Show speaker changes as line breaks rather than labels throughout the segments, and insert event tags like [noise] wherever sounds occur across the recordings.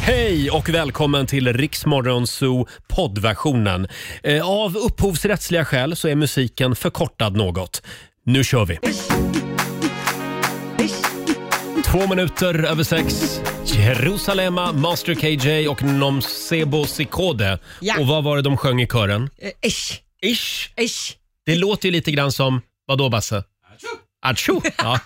Hej och välkommen till Riksmorgon Zoo poddversionen. Eh, Av upphovsrättsliga skäl så är musiken förkortad något. Nu kör vi!
Eh,
Två minuter över sex. Jerusalema, Master KJ och Nomsebo Sikode.
Ja.
Och vad var det de sjöng i kören?
Eh, Ish,
Ish!
ish.
Det låter ju lite grann som, vadå Basse? Atsjo!
[laughs]
Ja.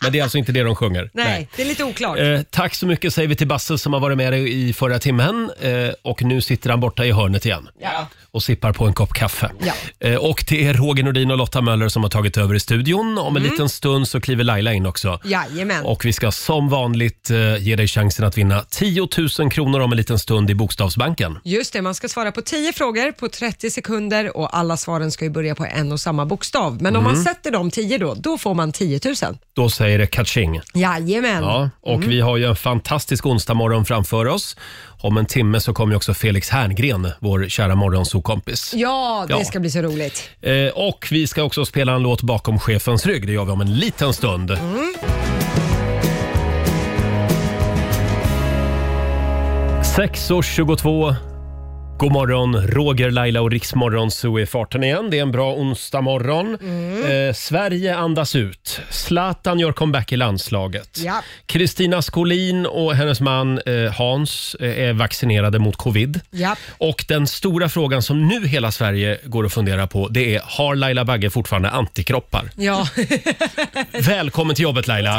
Men det är alltså inte det de sjunger.
Nej, det är lite oklart.
Eh, tack så mycket säger vi till Basse som har varit med dig i förra timmen eh, och nu sitter han borta i hörnet igen
Ja.
och sippar på en kopp kaffe.
Ja.
Eh, och det är Roger Nordin och Lotta Möller som har tagit över i studion. Om en liten stund så kliver Laila in också.
Jajamän.
Och vi ska som vanligt eh, ge dig chansen att vinna 10 000 kronor om en liten stund i Bokstavsbanken.
Just det, man ska svara på 10 frågor på 30 sekunder och alla svaren ska ju börja på en och samma bokstav. Men om
Mhm.
man sätter de 10 då, då får man 10 000.
Då säger det catching.
Jajamän.
Ja, och vi har ju en fantastisk onsdagmorgon framför oss. Om en timme så kommer ju också Felix Herngren, vår kära morgonsokompis.
Ja, det
Ja.
ska bli så roligt.
Eh, och vi ska också spela en låt bakom chefens rygg. Det gör vi om en liten stund. Sex och 22. God morgon, Roger, Laila och Riksmorgon så är farten igen. Det är en bra onsdag morgon. Eh, Sverige andas ut. Zlatan gör comeback i landslaget.
Ja.
Kristina Skolin och hennes man eh, Hans eh, är vaccinerade mot covid.
Ja.
Och den stora frågan som nu hela Sverige går och funderar på det är har Laila Bagge fortfarande antikroppar?
Ja. [laughs]
Välkommen till jobbet Laila!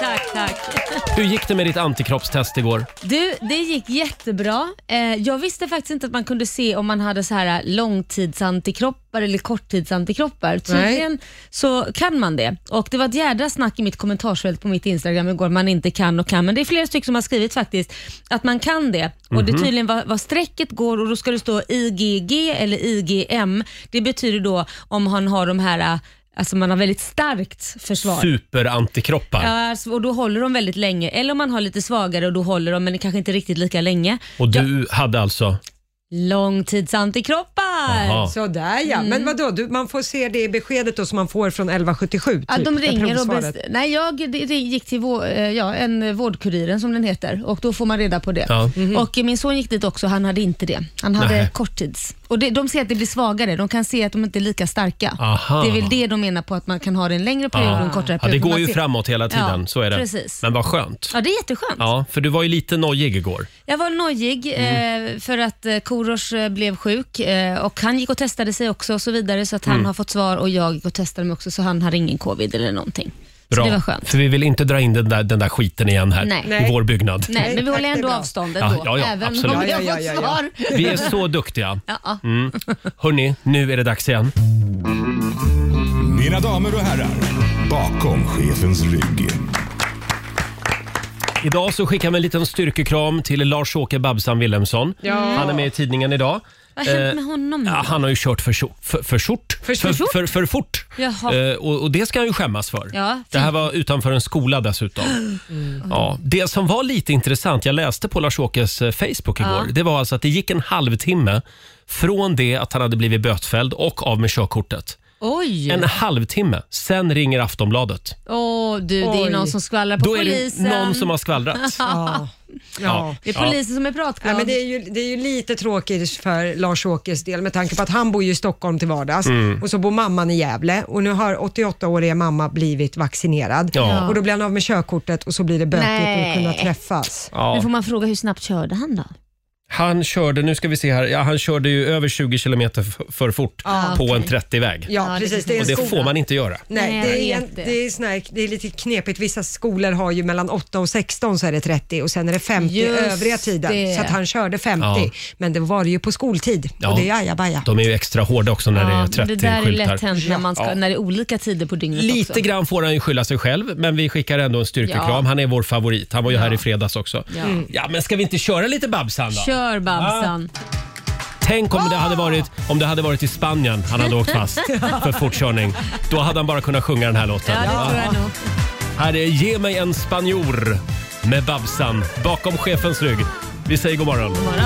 Tack, tack, tack.
Hur gick det med ditt antikroppstest igår?
Du, det gick jättebra. Eh, jag visste faktiskt inte att man kunde se om man hade så här eh, långtidsantikroppar eller korttidsantikroppar. Tydligen så kan man det. Och Det var ett jädra snack i mitt kommentarsfält på mitt Instagram igår man inte kan och kan. Men det är flera stycken som har skrivit faktiskt att man kan det. Och Det är tydligen vad, vad strecket går och då ska det stå IGG eller IGM. Det betyder då om han har de här, eh, alltså man har väldigt starkt försvar.
Superantikroppar.
Ja, alltså, och då håller de väldigt länge. Eller om man har lite svagare och då håller de, men det kanske inte riktigt lika länge.
Och du hade alltså...
Långtidsantikroppar!
Jaha.
Sådär ja.
Mm.
Men vadå, du, man får se det beskedet då som man får från 1177? Typ,
Ja, de
är
ringer och
provsvaret.
best... Nej, jag det- det gick till vår, eh, ja, en eh, vårdkuriren som den heter och då får man reda på det.
Ja.
Och eh, min son gick dit också, han hade inte det. Han hade
Nej.
korttids. Och det, de ser att det blir svagare, de kan se att de inte är lika starka.
Aha.
Det är väl det de menar på att man kan ha det en längre period och en kortare
Ja,
period.
det
för
går
man
ju
ser-
framåt hela tiden,
Ja,
så är det.
Precis.
Men vad skönt.
Ja, det är jätteskönt.
Ja, för du var ju lite nojig igår.
Jag var nojig
Mm.
eh, för att eh, Korosh eh, blev sjuk eh, och han gick och testade sig också och så vidare så att
Mm.
han har fått svar och jag gick och testade mig också så han har ingen covid eller någonting. Så det var skönt.
För vi vill inte dra in den där, den där skiten igen här
Nej.
i vår byggnad.
Nej, men
tack,
vi håller
det är
ändå
bra.
avstånd
Ja,
ändå,
ja, ja,
även
absolut.
om vi har
Ja, ja,
fått
ja, ja.
svar.
Vi är så duktiga. Mm.
Ja, ja.
Hörni, nu är det dags igen.
Mina damer och herrar, bakom chefens rygg.
Idag så skickar vi en liten styrkekram till Lars-Åke Babsan Wilhelmsson.
Mm.
Han är med i tidningen idag.
Vad har hänt
Eh,
med honom nu?
Ja, han har ju kört för, tjo- för, för, sort, för, för,
fort?
för, för fort.
Jaha.
Eh, och, och det ska han ju skämmas för.
Ja, Mm.
det här var utanför en skola dessutom. Ja, det som var lite intressant, jag läste på Lars-Åkes eh, Facebook igår, det var alltså att det gick en halvtimme från det att han hade blivit bötfälld och av med körkortet.
Oj!
En halvtimme, sen ringer Aftonbladet.
Åh du, det är
Oj.
någon som skvallrar på
Då är det
polisen.
någon som har
[laughs]
skvallrat.
Ja.
Ja.
ja.
Det är polisen som är
Nej,
pratglad.
men det, är ju, det är ju lite tråkigt för Lars-Åkes del med tanke på att han bor ju i Stockholm till vardags
Mm.
och så bor mamman i Gävle och nu har 88-åriga mamma blivit vaccinerad
Ja.
och då blir han av med körkortet och så blir det bökigt att
Nej.
kunna träffas.
Ja.
Nu får man fråga hur snabbt körde han då?
Han körde, nu ska vi se här, ja, han körde ju över 20 kilometer f- för fort
Ah,
på
okej.
en 30-väg.
Ja,
Ja, det
precis. Det är
Och
en
det
skola.
får man inte göra.
Nej,
Nej,
det
jag
är, en,
vet det.
det, är sån här, det är lite knepigt. Vissa skolor har ju mellan 8 och 16 så är det 30 och sen är det 50
Just
övriga tiden.
det.
Så att han körde 50,
Ja.
men det var ju på skoltid
Ja.
och det är ajabaja.
De är ju extra hårda också när det är
det där är
30
lätt
skyltar.
hänt när, man ska,
Ja.
när det är olika tider på dygnet också.
Lite grann får han ju skylla sig själv, men vi skickar ändå en styrkekram.
Ja.
Han är vår favorit. Han var ju här i fredags också. Ja.
Ja. Mm.
men ska vi inte köra lite Babsan då?
Kör Ah! Babsan.
Tänk om det, hade varit, om det hade varit i Spanien han hade åkt
[laughs]
fast för fortkörning. Då hade han bara kunnat sjunga den här låten.
Ja, det tror jag nog.
Här är Ge mig en spanjor med Babsan bakom chefens rygg. Vi säger god morgon.
God morgon.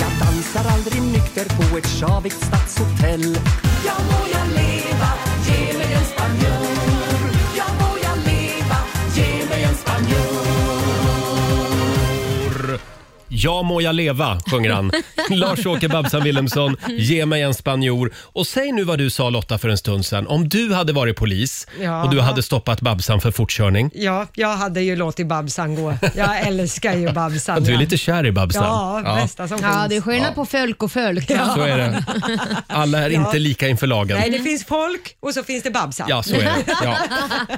Jag dansar aldrig nykter på ett sjavigt stadshotell
Jag vågar leva, ge mig en spanjor. Jag vågar leva, ge mig en spanjor.
Ja må jag leva, sjunger
[laughs]
han. Lars-Åke Babsan Wilhelmsson, ge mig en spanjor. Och säg nu vad du sa Lotta för en stund sedan. Om du hade varit polis
Ja.
och du hade stoppat Babsan för fortkörning.
Ja, jag hade ju låtit Babsan gå. Jag älskar ju Babsan.
Du är
ja.
lite kär i Babsan.
Ja, bästa som
Ja,
finns.
det är skillnad på folk och folk. Ja.
Så är
[laughs]
det. Alla är inte lika inför lagen.
Nej, det finns folk och så finns det Babsan.
Ja, så är det.
[laughs]
Ja.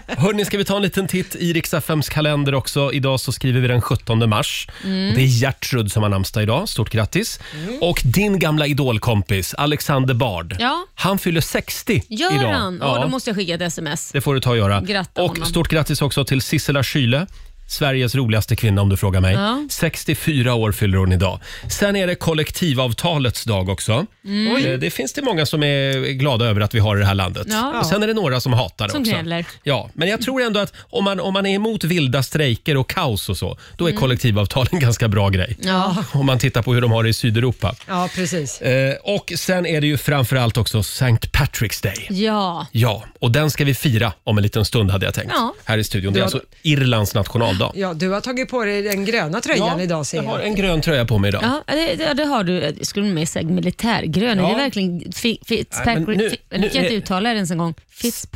Hörni, ska vi ta en liten titt i Riks-FMs kalender också? Idag så skriver vi den 17 mars.
Mm.
Och Det är Gertrud som har namnsdag idag. Stort grattis. Och din gamla idolkompis Alexander Bard.
Ja.
Han fyller 60
Gör
idag.
han? Ja. då måste jag skicka ett sms.
Det får du ta och göra.
Gratta
och
honom.
stort grattis också till Sissela Kyle. Sveriges roligaste kvinna om du frågar mig.
Ja.
64 år fyller hon idag. Sen är det kollektivavtalets dag också.
Mm.
Eh, Det finns det många som är glada över att vi har i det här landet.
Ja.
Och sen är det några som hatar det
Som
också.
gnäller.
Ja, men jag tror ändå att om man, om man är emot vilda strejker och kaos och så, då är kollektivavtal en ganska bra grej.
Mm. Ja.
Om man tittar på hur de har det i Sydeuropa.
Ja, precis.
Eh, och sen är det ju framförallt också St. Patrick's Day.
Ja.
Ja, och den ska vi fira om en liten stund hade jag tänkt.
Ja.
Här i studion. Det är
Ja.
alltså Irlands nationaldag.
Ja, du har tagit på dig den gröna tröjan idag ser
jag har
jag.
en grön tröja på mig idag.
Ja, det, det, det har du. Jag skulle med säga militärgrön.
Ja.
Är det verkligen fi,
Nej,
Fitzpatrick?
men nu-
fi, nu kan jag inte
nu-
uttala det ens en gång.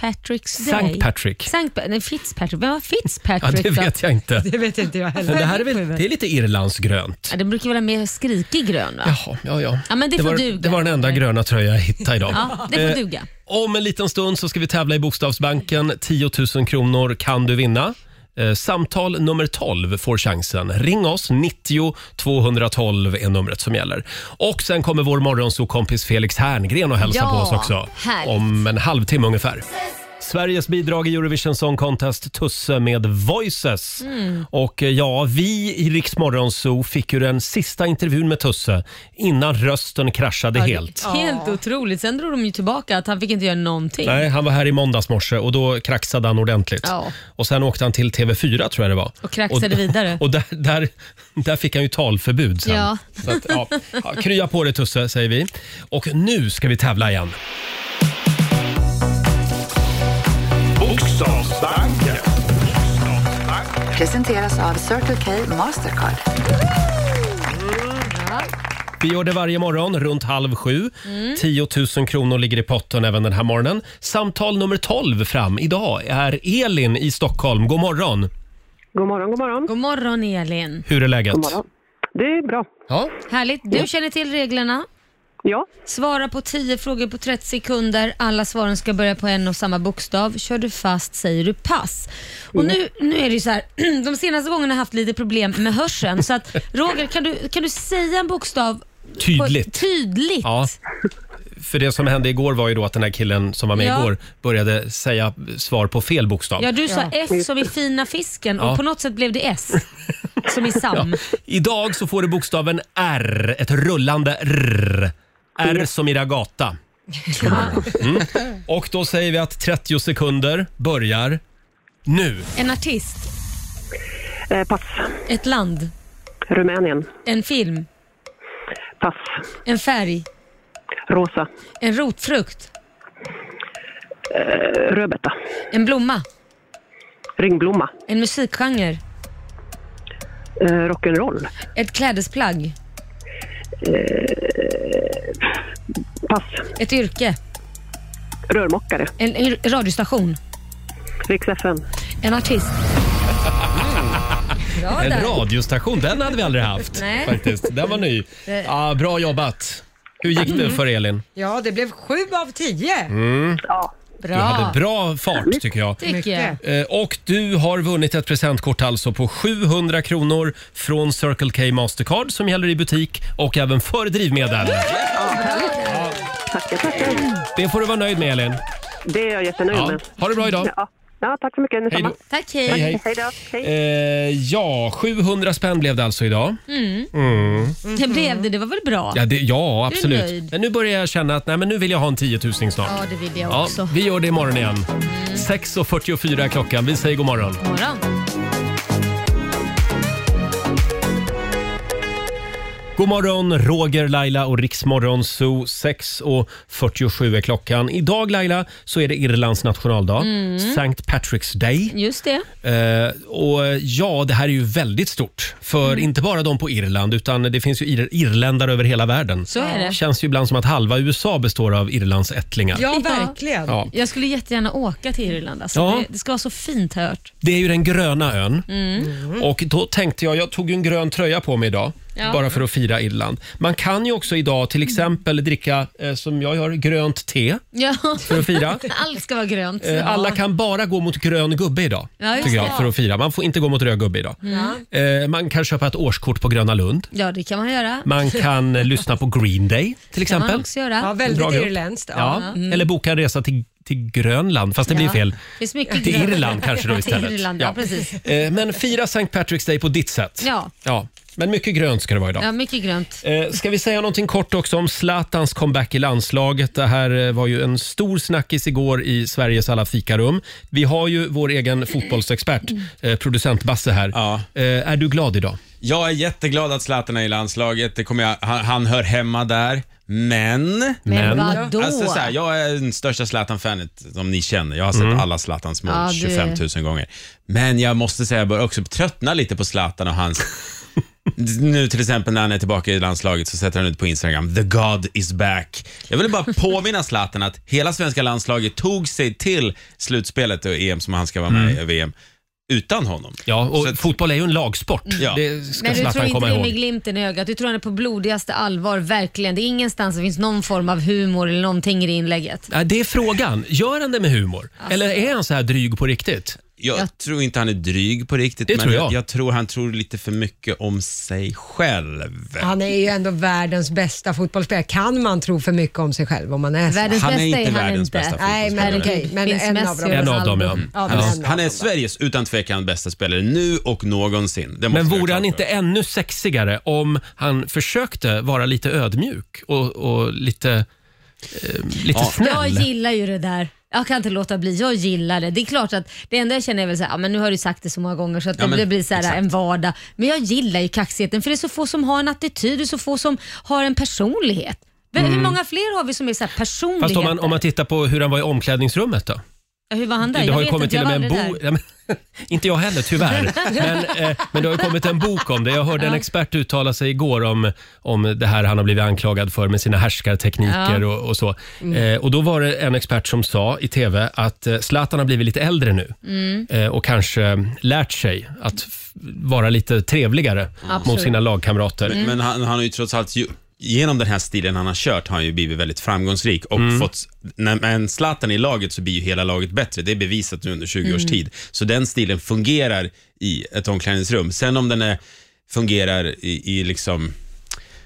Fitzpatrick's Day.
Sankt Patrick.
Sankt Pa- nej, Fitzpatrick. Vem var
Ja,
Fitzpatrick
det
då?
vet jag inte.
[laughs] Det vet inte jag heller.
Men det här är väl det är lite Irlands grönt.
Ja, det brukar vara mer skrikig grön va?
Jaha, ja, ja.
Ja, men det får
var,
duga.
det var den enda gröna tröja jag hittade idag.
Ja, det får
Eh,
duga.
Om en liten stund så ska vi tävla i Bokstavsbanken. 10 000 kronor kan du vinna. Eh, Samtal nummer 12 får chansen. Ring oss. 90 212 är numret som gäller. Och Sen kommer vår morgonsokompis Felix Herngren och hälsa
Ja,
på oss också.
härligt.
Om en halvtimme ungefär. Sveriges bidrag i Eurovision Song Contest, Tusse med Voices.
Mm.
Och eh, ja, vi i Rix Morgon Zoo fick ju den sista intervjun med Tusse innan rösten kraschade helt.
Helt otroligt. Sen drog de ju tillbaka att han fick inte göra någonting.
Nej, han var här i måndags morse och då kraxade han ordentligt.
Mm. Ja.
Och Sen åkte han till TV4 tror jag det var.
Och kraxade vidare.
[laughs] Och där, där, där fick han ju talförbud sen.
Ja.
Så att, ja. Ja, krya på dig Tusse, säger vi. Och nu ska vi tävla igen.
Bokstavsbanken.
Presenteras av Circle K Mastercard.
Vi gör det varje morgon runt halv sju.
Mm.
10 000 kronor ligger i potten även den här morgonen. Samtal nummer 12 fram idag är Elin i Stockholm. God morgon!
God morgon, god morgon.
God morgon Elin.
Hur är läget?
Det är bra.
Ja.
Härligt. Du känner till reglerna.
Ja,
Svara på 10 frågor på 30 sekunder. Alla svaren ska börja på en och samma bokstav. Kör du fast säger du pass. Och nu, nu är det ju så här, [clears throat] de senaste gångerna har jag haft lite problem med hörseln.
[laughs]
Så att, Roger, kan du, kan du säga en bokstav På,
Tydligt.
tydligt?
Ja. För det som hände igår var ju då att den här killen som var med
Ja.
igår började säga svar på fel bokstav.
Ja, du sa F som i fina fisken och
Ja.
på något sätt blev
[laughs]
det S som i Sam.
Idag så får du bokstaven R, ett rullande R. R som i ragata. Mm. Och då säger vi att 30 sekunder börjar nu.
En artist,
eh, pass.
ett land,
Rumänien.
en film,
Pass.
en färg,
Rosa.
en rotfrukt,
Eh, Rödbeta.
en blomma,
Ringblomma.
en musikgenre,
Eh, Rock'n'roll.
ett klädesplagg,
Pass.
ett yrke,
Rörmokare.
en, en radiostation,
Riks FN.
en artist. Bra
Mm. En
där.
radiostation, den hade vi aldrig haft.
Nej.
Faktiskt. Den var ny. Ja, bra jobbat. Hur gick
Mm.
det för Elin?
Ja, det blev sju av tio.
Mm.
Ja.
Du
Bra,
hade bra fart tycker jag.
tycker jag.
Eh, Och du har vunnit ett presentkort alltså på 700 kronor från Circle K Mastercard som gäller i butik och även för drivmedel.
Tackar, tackar.
Det får du vara nöjd med Elin.
Det är jag jättenöjd
Ja.
med.
Ha det bra idag.
Ja. ja, tack så mycket.
Hej
Detsamma.
då.
Tack,
Hej,
hej.
hej.
Hej då. Hej.
Eh, ja, 700 spänn blev det alltså idag.
Mm. Det blev det, det var väl bra?
Ja, det, ja
är
absolut.
nöjd.
Men nu börjar jag känna att nej, men nu vill jag ha en 10 000 snart.
Ja, det vill jag
Ja,
också. Mm.
vi gör det imorgon igen. 6.44 är klockan. Vi säger god morgon.
God morgon.
God morgon, Roger, Laila och Riksmorgon Zoo. 6.47 är klockan. Idag Laila så är det Irlands nationaldag,
Mm.
St. Patrick's Day.
Just det.
Eh, och ja, det här är ju väldigt stort för
Mm.
inte bara de på Irland utan det finns ju ir- irländare över hela världen.
Så är det.
Känns ju ibland som att halva USA består av Irlands ättlingar.
Ja,
Ja.
verkligen.
Ja.
Jag skulle jättegärna åka till Irland. Alltså.
Ja.
Det, det ska vara så fint har jag hört.
Det är ju den gröna ön. Och då tänkte jag, jag tog ju en grön tröja på mig idag.
Mm. Ja. Mm.
Bara för att fira Irland. Man kan ju också idag till exempel dricka, eh, som jag gör, grönt te
Ja. [laughs]
för att fira.
Allt ska vara grönt.
Eh, Alla kan bara gå mot grön gubbe idag,
Ja, just
tycker
det. Mm.
jag, för att fira. Man får inte gå mot röd gubbe idag. Eh, Man kan köpa ett årskort på Gröna Lund.
Ja, det kan man göra.
Man kan eh, lyssna på Green Day till
kan man
exempel.
också göra.
Ja, väldigt
Bra grupp.
irländskt.
Ja.
Ja.
Eller boka en resa till, till Grönland, fast det blir
Mm. Ja.
fel.
Det finns mycket
Till
grönt.
Irland kanske
[laughs]
då istället.
Till Irland, ja, precis.
Eh, Men fira St. Patrick's Day på ditt sätt.
Ja.
ja. Men mycket grönt ska det vara idag.
Ja, mycket grönt.
Eh, Ska vi säga någonting kort också om Zlatans comeback i landslaget? Det här eh, var ju en stor snackis igår i Sveriges alla fikarum. Vi har ju vår egen fotbollsexpert, eh, producent Basse här.
Ja.
Eh, Är du glad idag?
Jag är jätteglad att Zlatan är i landslaget. Det kommer jag, han, han hör hemma där. Men...
Men,
Men-
vadå?
Alltså, så här, jag är den största Zlatan-fanet som ni känner. Jag har sett
Mm.
alla Zlatans mål
Ja, du-
25 000 gånger. Men jag måste säga, jag börjar också tröttna lite på Zlatan och hans...
[laughs]
nu till exempel när han är tillbaka i landslaget så sätter han ut på Instagram, “The God is back”. Jag vill bara påminna Zlatan att hela svenska landslaget tog sig till slutspelet och EM som han ska vara med i, VM, utan honom.
Mm. Ja, och
Så att-
fotboll är ju en lagsport.
Ja.
Det ska
Men du tror
Zlatan
inte
komma
det är med
ihåg.
glimten i ögat. Du tror han är på blodigaste allvar, verkligen. Det är ingenstans det finns någon form av humor eller någonting i det inlägget.
Ja, Det är frågan. Gör han det med humor? Eller är han så här dryg på riktigt?
Jag tror inte han är dryg på riktigt,
Det
men
tror jag.
jag. tror han tror lite för mycket om sig själv.
Han är ju ändå världens bästa fotbollsspelare. Kan man tro för mycket om sig själv om man är så?
Världens
Han är
bästa
inte
är han
världens
inte.
bästa
Nej, men
fotbollsspelare.
okej. Men
Finns
en
Messi
av dem.
över
En av dem, ja.
Zalbo.
Ja, men
Ja.
en av
Han är
dem.
Sveriges utan tvekan bästa spelare nu och någonsin. Det måste
Men
vi ha
vore
klart
han
för
inte
oss.
ännu sexigare om han försökte vara lite ödmjuk och, och lite, eh, lite
Ja.
Jag
snäll?
gillar ju det där. Jag kan inte låta bli. Jag gillar det. Det är klart att det enda jag känner är väl så här, ja, men nu har du sagt det så många gånger så att
Ja,
det
men
blir så här
exakt.
en vardag. Men jag gillar ju kaxigheten för det är så få som har en attityd och så få som har en personlighet. Men Hur många fler har vi som är så här personligheter?
Mm. Fast om man, om man tittar på hur han var i omklädningsrummet då?
Ja, Hur var han där?
Det
jag
har ju
vet
kommit
inte,
till och
jag
med en
var aldrig
bok.
där.
[laughs] Ja, men, inte jag heller
[laughs]
tyvärr. Men, eh, men det har ju kommit en bok om det. Jag hörde en expert uttala sig igår om, om det här han har blivit anklagad för med sina härskartekniker
Ja. Mm.
och, och så. Eh, och då var det en expert som sa i TV att eh, Zlatan har blivit lite äldre nu
Mm.
eh, och kanske lärt sig att f- vara lite trevligare mot
Absolut.
sina lagkamrater.
Men, men han, han har ju trots allt, ju, genom den här stilen han har kört, har han ju blivit väldigt framgångsrik och
Mm.
fått, när men Zlatan är i laget så blir ju hela laget bättre. Det är bevisat nu under 20 års
Mm.
tid. Så den stilen fungerar i ett omklädningsrum. Sen om den är, fungerar i, i liksom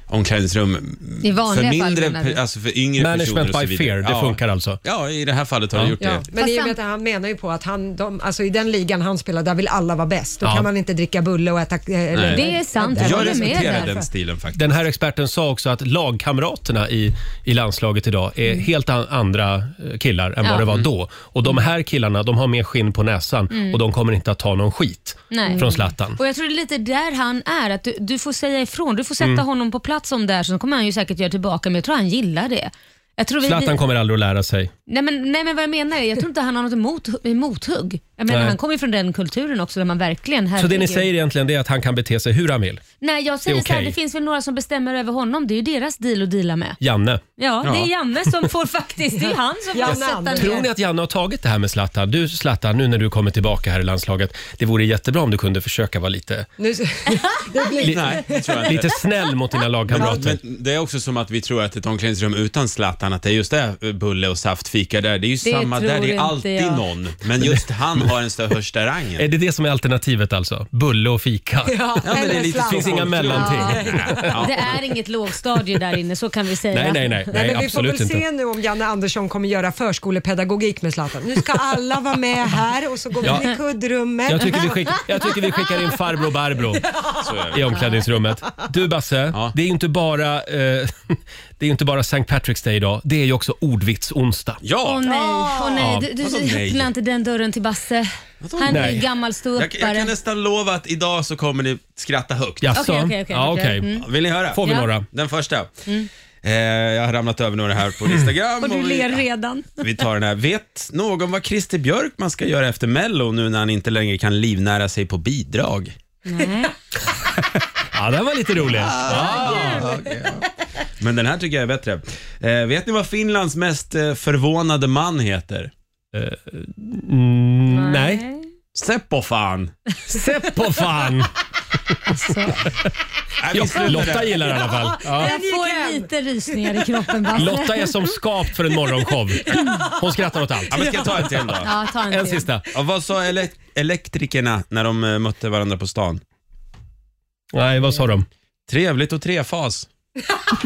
omklädningsrum
I vanliga
för
fall,
mindre,
menar du?
pe- alltså för yngre personer
Management
och så
by
vidare.
fear, det
ja.
funkar alltså.
Ja, i det här fallet har det gjort
Ja,
det.
men
Fast
i och
han-
med att han menar ju på att han, de, alltså i den ligan han spelar, där vill alla vara bäst. Då
Ja.
kan man inte dricka bulle och äta... eh, Eller,
Det är sant. Jag
Jag
håller med
respekterar
där.
den stilen faktiskt.
Den här experten sa också att lagkamraterna i, i landslaget idag är helt an, andra eh, killar än
Mm. Ja. Mm.
vad det var då. Och de här killarna, de har mer skinn på näsan och de kommer inte att ta någon skit
Nej.
från Zlatan.
Och jag tror det är lite där han är, att du, du får säga ifrån. Du får sätta
Mm.
honom på plats om det är så kommer han ju säkert göra tillbaka, men jag tror han gillar det. Jag tror vi,
Zlatan
vi,
kommer aldrig att lära sig.
nej, men, nej men vad jag menar är, jag tror inte han har något emot, mothugg. Jag menar,
Nej.
han kommer ju från den kulturen också där man verkligen,
Så det ni
herregud.
säger egentligen det är att han kan bete sig hur han vill.
Nej jag säger
Det är
så här,
okej.
det finns väl några som bestämmer över honom. Det är ju deras deal att deala med.
Janne.
Ja, det är Janne
[laughs]
som får faktiskt, det är han som får
Janne
sätta
Andersson.
Tror ni
ner.
att Janne har tagit det här med Zlatan? Du Zlatan, nu när du kommer tillbaka här i landslaget. Det vore jättebra om du kunde försöka vara lite,
nu, [laughs] det blir,
Nej, det tror jag inte.
lite snäll mot
[laughs]
dina lagkamrater.
Men det är också som att vi tror att ett omklädningsrum utan Zlatan, att det är just det, eh, bulle och saftfika där. Det är ju
Det
samma
tror
där, det är
inte
alltid
jag.
någon. Men just han har den största rangen.
Är det det som är alternativet alltså? Bulle och
[laughs]
fika?
ja,
Ja, men
eller
det är lite
slalom.
finns inga mellanting.
Ja.
Det är inget lågstadie där inne, så kan vi säga.
Nej, nej, nej.
Nej,
nej
men vi får väl
Eh, absolut inte.
se nu om Janne Andersson kommer göra förskolepedagogik med Zlatan. Nu ska alla vara med här och så går vi
Ja.
in i kuddrummet.
Jag tycker, vi skickar, jag tycker vi skickar in farbror Barbro
Så är det.
i omklädningsrummet. Du Basse,
Ja.
det är ju inte bara eh, [laughs] det är ju inte bara St. Patrick's Day idag, det är ju också ordvitsonsdag.
Ja!
Åh nej, åh nej.
Ja,
Du, du
vadå nej?
öppnar inte den dörren till Basse. Han är
nej?
ju gammal
Jag, jag kan
ståuppare.
nästan lova att idag så kommer ni skratta högt.
Jaså?
Okej, okej, okej,
ja, okej.
okej. Mm.
Vill ni höra?
Får vi
Ja.
några?
Den första. Eh, jag har ramlat över några här på Instagram.
Och du
vi,
ler redan.
vi tar den här. Vet någon vad Christer Björkman ska göra efter Mello nu när han inte längre kan livnära sig på bidrag?
Nej.
Ja, den var lite rolig.
Men den här tycker jag är bättre. Eh, vet ni vad Finlands mest eh, förvånade man heter?
Mm, nej.
[laughs]
Seppofan.
Seppo fan!
Nej,
Ja,
vi slutar
Lotta
där.
gillar det i alla fall. Ja.
Jag får lite rysningar i kroppen Basse.
Lotta är som skapt för en morgonshow. Hon skrattar åt allt.
Ja, men ska jag ta en till då?
[laughs] Ja, ta en,
En
till.
sista.
Ja, vad sa ele- elektrikerna när de eh, mötte varandra på stan?
Nej, vad sa de?
Trevligt och trefas.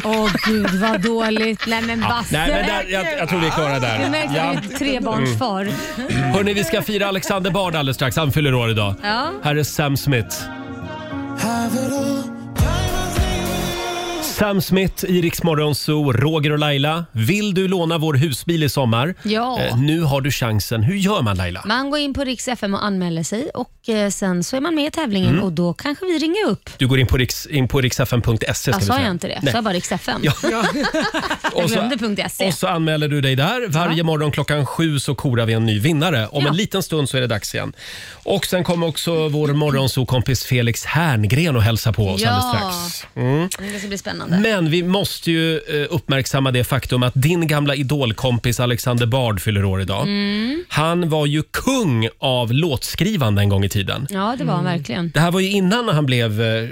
Åh gud vad dåligt. Nej men
Ja,
Basse.
nej, men där, jag, jag tror vi är klara
Du
där.
märker
Ja. Mm.
att du är trebarnsfar.
Hörni, vi ska fira Alexander Bard alldeles strax. Han fyller år idag.
Ja.
Här är Sam Smith. Sam Smith i Rix Morgon Zoo, Roger och Laila. Vill du låna vår husbil i sommar?
Ja.
Eh, nu har du chansen. Hur gör man Laila?
Man går in på Rix FM och anmäler sig och eh, sen så är man med i tävlingen
Mm.
och då kanske vi ringer upp.
Du går in på, riks, in på riksfn.se. ska
Ja,
vi
sa
säga.
jag inte det?
Nej.
Sa jag bara Rix FM?
Ja.
[laughs] Jag
Och så-
glömde punkt .se.
Och så anmäler du dig där. Varje morgon klockan sju så korar vi en ny vinnare. Om
Ja.
en liten stund så är det dags igen. Och sen kommer också vår morgonsokompis Felix Herngren och hälsa på oss
Ja.
alldeles strax.
Mm, Det ska bli spännande.
Men vi måste ju eh, uppmärksamma det faktum att din gamla idolkompis Alexander Bard fyller år idag.
Mm.
Han var ju kung av låtskrivande en gång i tiden.
Ja, det
Mm.
var han verkligen.
Det här var ju innan han blev eh,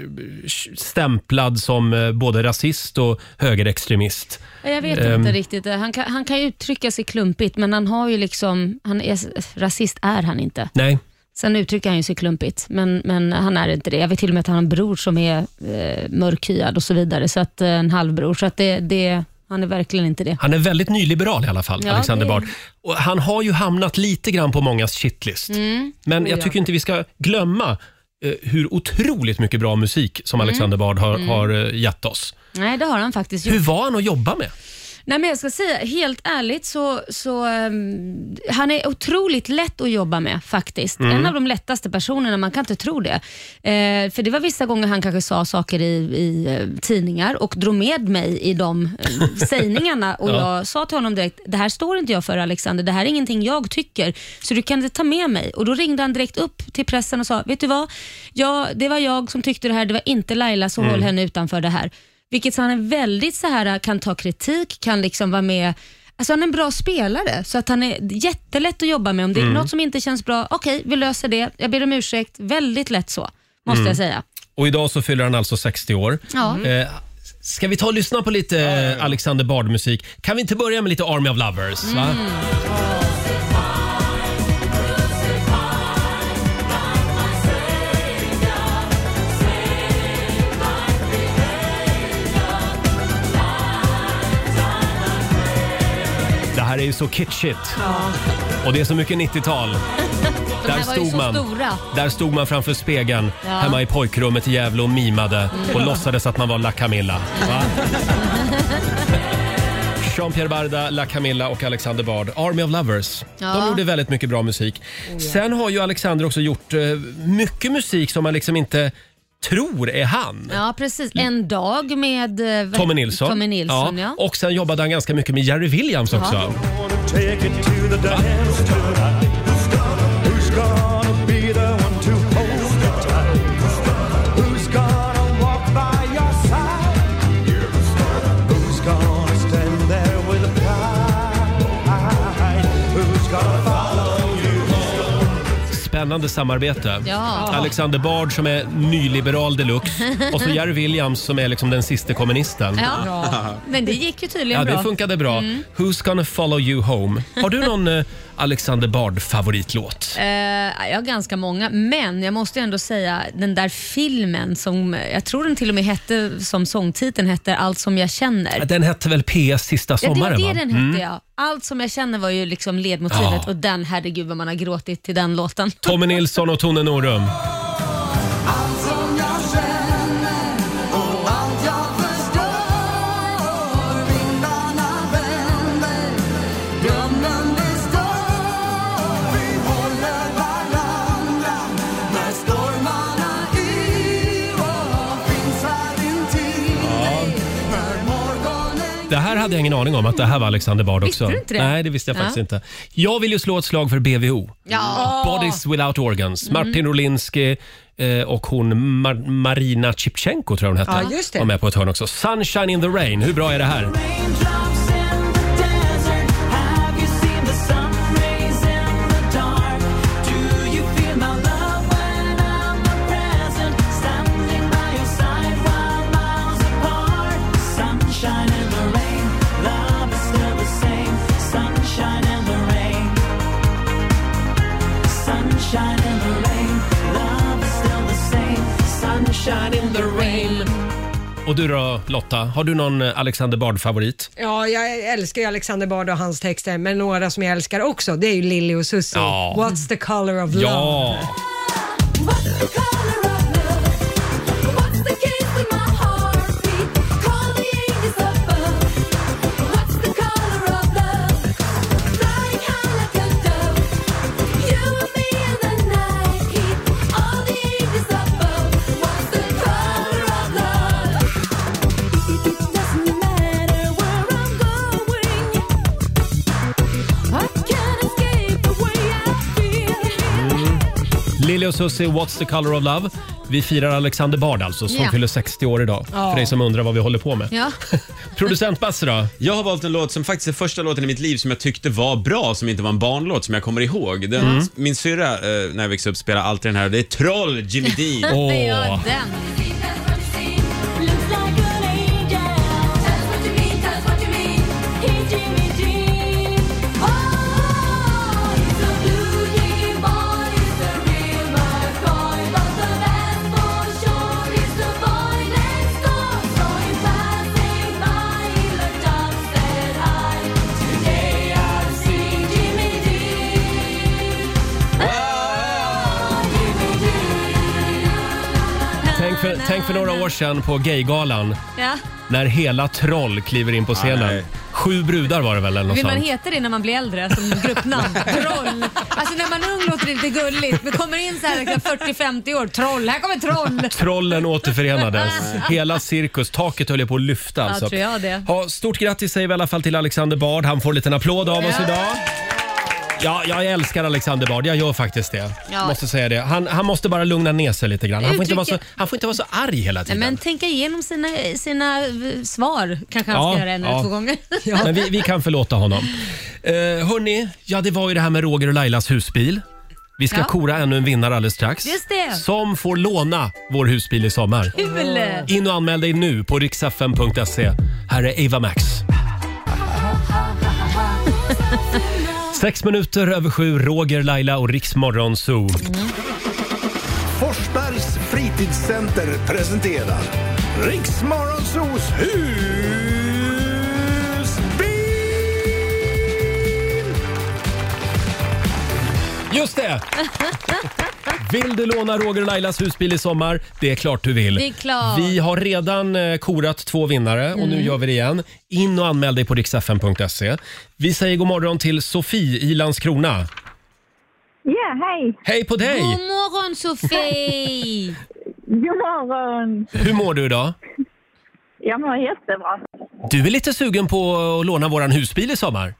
stämplad som eh, både rasist och högerextremist.
Jag vet inte riktigt. Han kan, han kan ju uttrycka sig klumpigt, men han har ju liksom... Han är, rasist är han inte.
Nej,
Sen uttrycker han ju sig klumpigt, men, men han är inte det. Jag vet till och med att han har en bror som är eh, mörkhyad och så vidare. Så att, eh, en halvbror. Så att det, det, han är verkligen inte det.
Han är väldigt nyliberal i alla fall,
Ja,
Alexander
det-
Bard. Och han har ju hamnat lite grann på mångas shitlist.
Mm,
Men jag tycker inte vi ska glömma eh, hur otroligt mycket bra musik som
Mm.
Alexander Bard har, har eh, gett oss.
Nej, det har han faktiskt gjort.
Hur var han att jobba med?
Nej, men jag ska säga, helt ärligt så, så ehm, han är otroligt lätt att jobba med faktiskt. En av de lättaste personerna, man kan inte tro det. Eh, för det var vissa gånger han kanske sa saker i, i eh, tidningar och drog med mig i de eh, sägningarna och
Ja.
jag sa till honom direkt, det här står inte jag för Alexander, det här är ingenting jag tycker, så du kan inte ta med mig. Och då ringde han direkt upp till pressen och sa, vet du vad, ja, det var jag som tyckte det här, det var inte Laila, så håll henne utanför det här. Vilket så han är väldigt så här, kan ta kritik, kan liksom vara med. Alltså han är en bra spelare, så att han är jättelätt att jobba med. Om det
Mm.
är något som inte känns bra, okej, vi löser det. Jag ber om ursäkt. Väldigt lätt så, måste
Mm.
jag säga. Mm.
Och idag så fyller han alltså 60 år.
Ja.
Eh, Ska vi ta och lyssna på lite eh, Alexander Bard-musik? Kan vi inte börja med lite Army of Lovers? Va? Det här är ju så kitschigt. Och det är så mycket 90-tal.
De här var ju så stora.
Där stod man framför spegeln
Ja.
hemma i pojkrummet i Gävle och mimade och låtsades att man var La Camilla. Va?
[laughs]
Jean-Pierre Barda, La Camilla och Alexander Bard, Army of Lovers. De
Ja. Oh,
gjorde väldigt mycket bra musik. Sen har ju Alexander också gjort eh, mycket musik som man liksom inte tror är
[laughs]
han.
Ja, precis. En dag med eh, vad-
Mm. Tommy Nilsson.
Tommy Nilsson ja.
Och sen jobbade han ganska mycket med Jerry Williams också. Spännande samarbete.
Ja.
Alexander Bard som är nyliberal
[laughs]
deluxe och så Jerry Williams som är liksom den siste kommunisten.
Ja. Men det gick ju tydligen
Ja,
bra. Mm.
det funkade bra. Who's gonna follow you home? Har du någon eh, Alexander Bard-favoritlåt?
Eh, jag har ganska många, men jag måste ju ändå säga den där filmen som eh, jag tror den till och med hette, som sångtiteln hette, Allt som jag känner.
Den hette väl PS sista
Ja, det var
sommaren?
det
va? Mm.
den hette ja. Allt som jag känner var ju liksom ledmotivet
Ja.
och den, herregud vad man har gråtit till den låten.
Tommy Nilsson och Tone Norum.
Allt jag förstår
Det här hade jag ingen aning om att det här var Alexander Bard också.
Visste du inte det?
Nej, det visste jag faktiskt
Ja.
inte. Jag vill ju slå ett slag för BVO.
Ja.
Bodies Without Organs.
Mm.
Martin Rolinski eh, och hon Mar- Marina Chipchenko tror jag hon hette.
Ja, just det.
Var med på ett hörn också. Sunshine in the rain. Hur bra är det här?
Raindrops in the desert. Have you seen the sun rays in the dark? Do you feel my love when I'm not present? Standing by your side while miles apart. Sunshine in the rain. Love is still the same. Sunshine in the rain. Sunshine in the rain. Love is still the same. Sunshine in the rain.
Och du då Lotta, har du någon eh, Alexander Bard-favorit?
Ja, jag älskar ju Alexander Bard och hans texter, men några som jag älskar också, det är ju Lily och Susie.
Ja.
What's the color of love?
Ja!
What's the color of love? What's the case with my heartbeat? Call the angels above. What's the color of love? Flying high like a dove. You and me in the night heat. All the angels above. What's the color of love? It doesn't matter where I'm going. I can't escape the way I feel.
Lili och Susie, What's the color of love? Vi firar Alexander Bard alltså, som
Ja.
fyller 60 år idag. För dig som undrar vad vi håller på med.
Ja.
Producent Basse då?
Jag har valt en låt som faktiskt är första låten i mitt liv som jag tyckte var bra, som inte var en barnlåt, som jag kommer ihåg. Den, Min syrra, eh, när jag växte upp, spelade alltid den här. Det är Troll, Jimmy Dean. [laughs]
Åh.
Det gör den.
Tänk för, tänk för några år sedan på Gaygalan
Ja.
när hela Troll kliver in på scenen.
nej.
Sju brudar var det väl eller något
Vill man
sånt?
heta det när man blir äldre som
[laughs]
gruppnamn? troll. Alltså när man är ung låter det inte gulligt. Men kommer in så här liksom 40-50 år, troll. Här kommer troll.
Trollen
[laughs]
återförenades. Hela cirkus. Taket höll ju på att lyfta. Alltså.
tror jag det.
Ja, stort grattis säger vi i alla fall till Alexander Bard. Han får en liten applåd av oss
Ja.
idag. Ja, jag älskar Alexander Bard. Jag gör faktiskt det.
Ja.
Måste säga det. Han, han måste bara lugna ner sig lite grann. Han får, inte vara så,
Uttrycket-
han får inte vara så arg hela
Nej,
tiden.
men tänka igenom sina, sina eh, svar kanske han
Ja,
ska göra en eller
[laughs] ja.
två gånger.
Men vi, vi kan förlåta honom. Eh, hörni, ja det var ju det här med Roger och Lailas husbil. Vi ska
Ja.
kora ännu en vinnare alldeles strax.
Just det.
Som får låna vår husbil i sommar.
Kul!
In och anmäl dig nu på riksfm.se. Här är Ava Max. Sex minuter över sju, Roger, Laila och Riksmorgon Zoo.
Forsbergs fritidscenter presenterar Riksmorgonsos husbil!
Just det! Vill du låna Roger och Lailas husbil i sommar? Det är klart du vill.
Det är klart. Mm.
Vi har redan eh, korat två vinnare och nu gör vi det igen. In och anmäl dig på riksfm.se. Vi säger god morgon till Sofie i Landskrona.
Ja, hej.
Hej på dig!
God
[laughs]
morgon Sofie!
God morgon.
Hur mår du idag?
Jag mår jättebra.
Du är lite sugen på att låna våran husbil i sommar?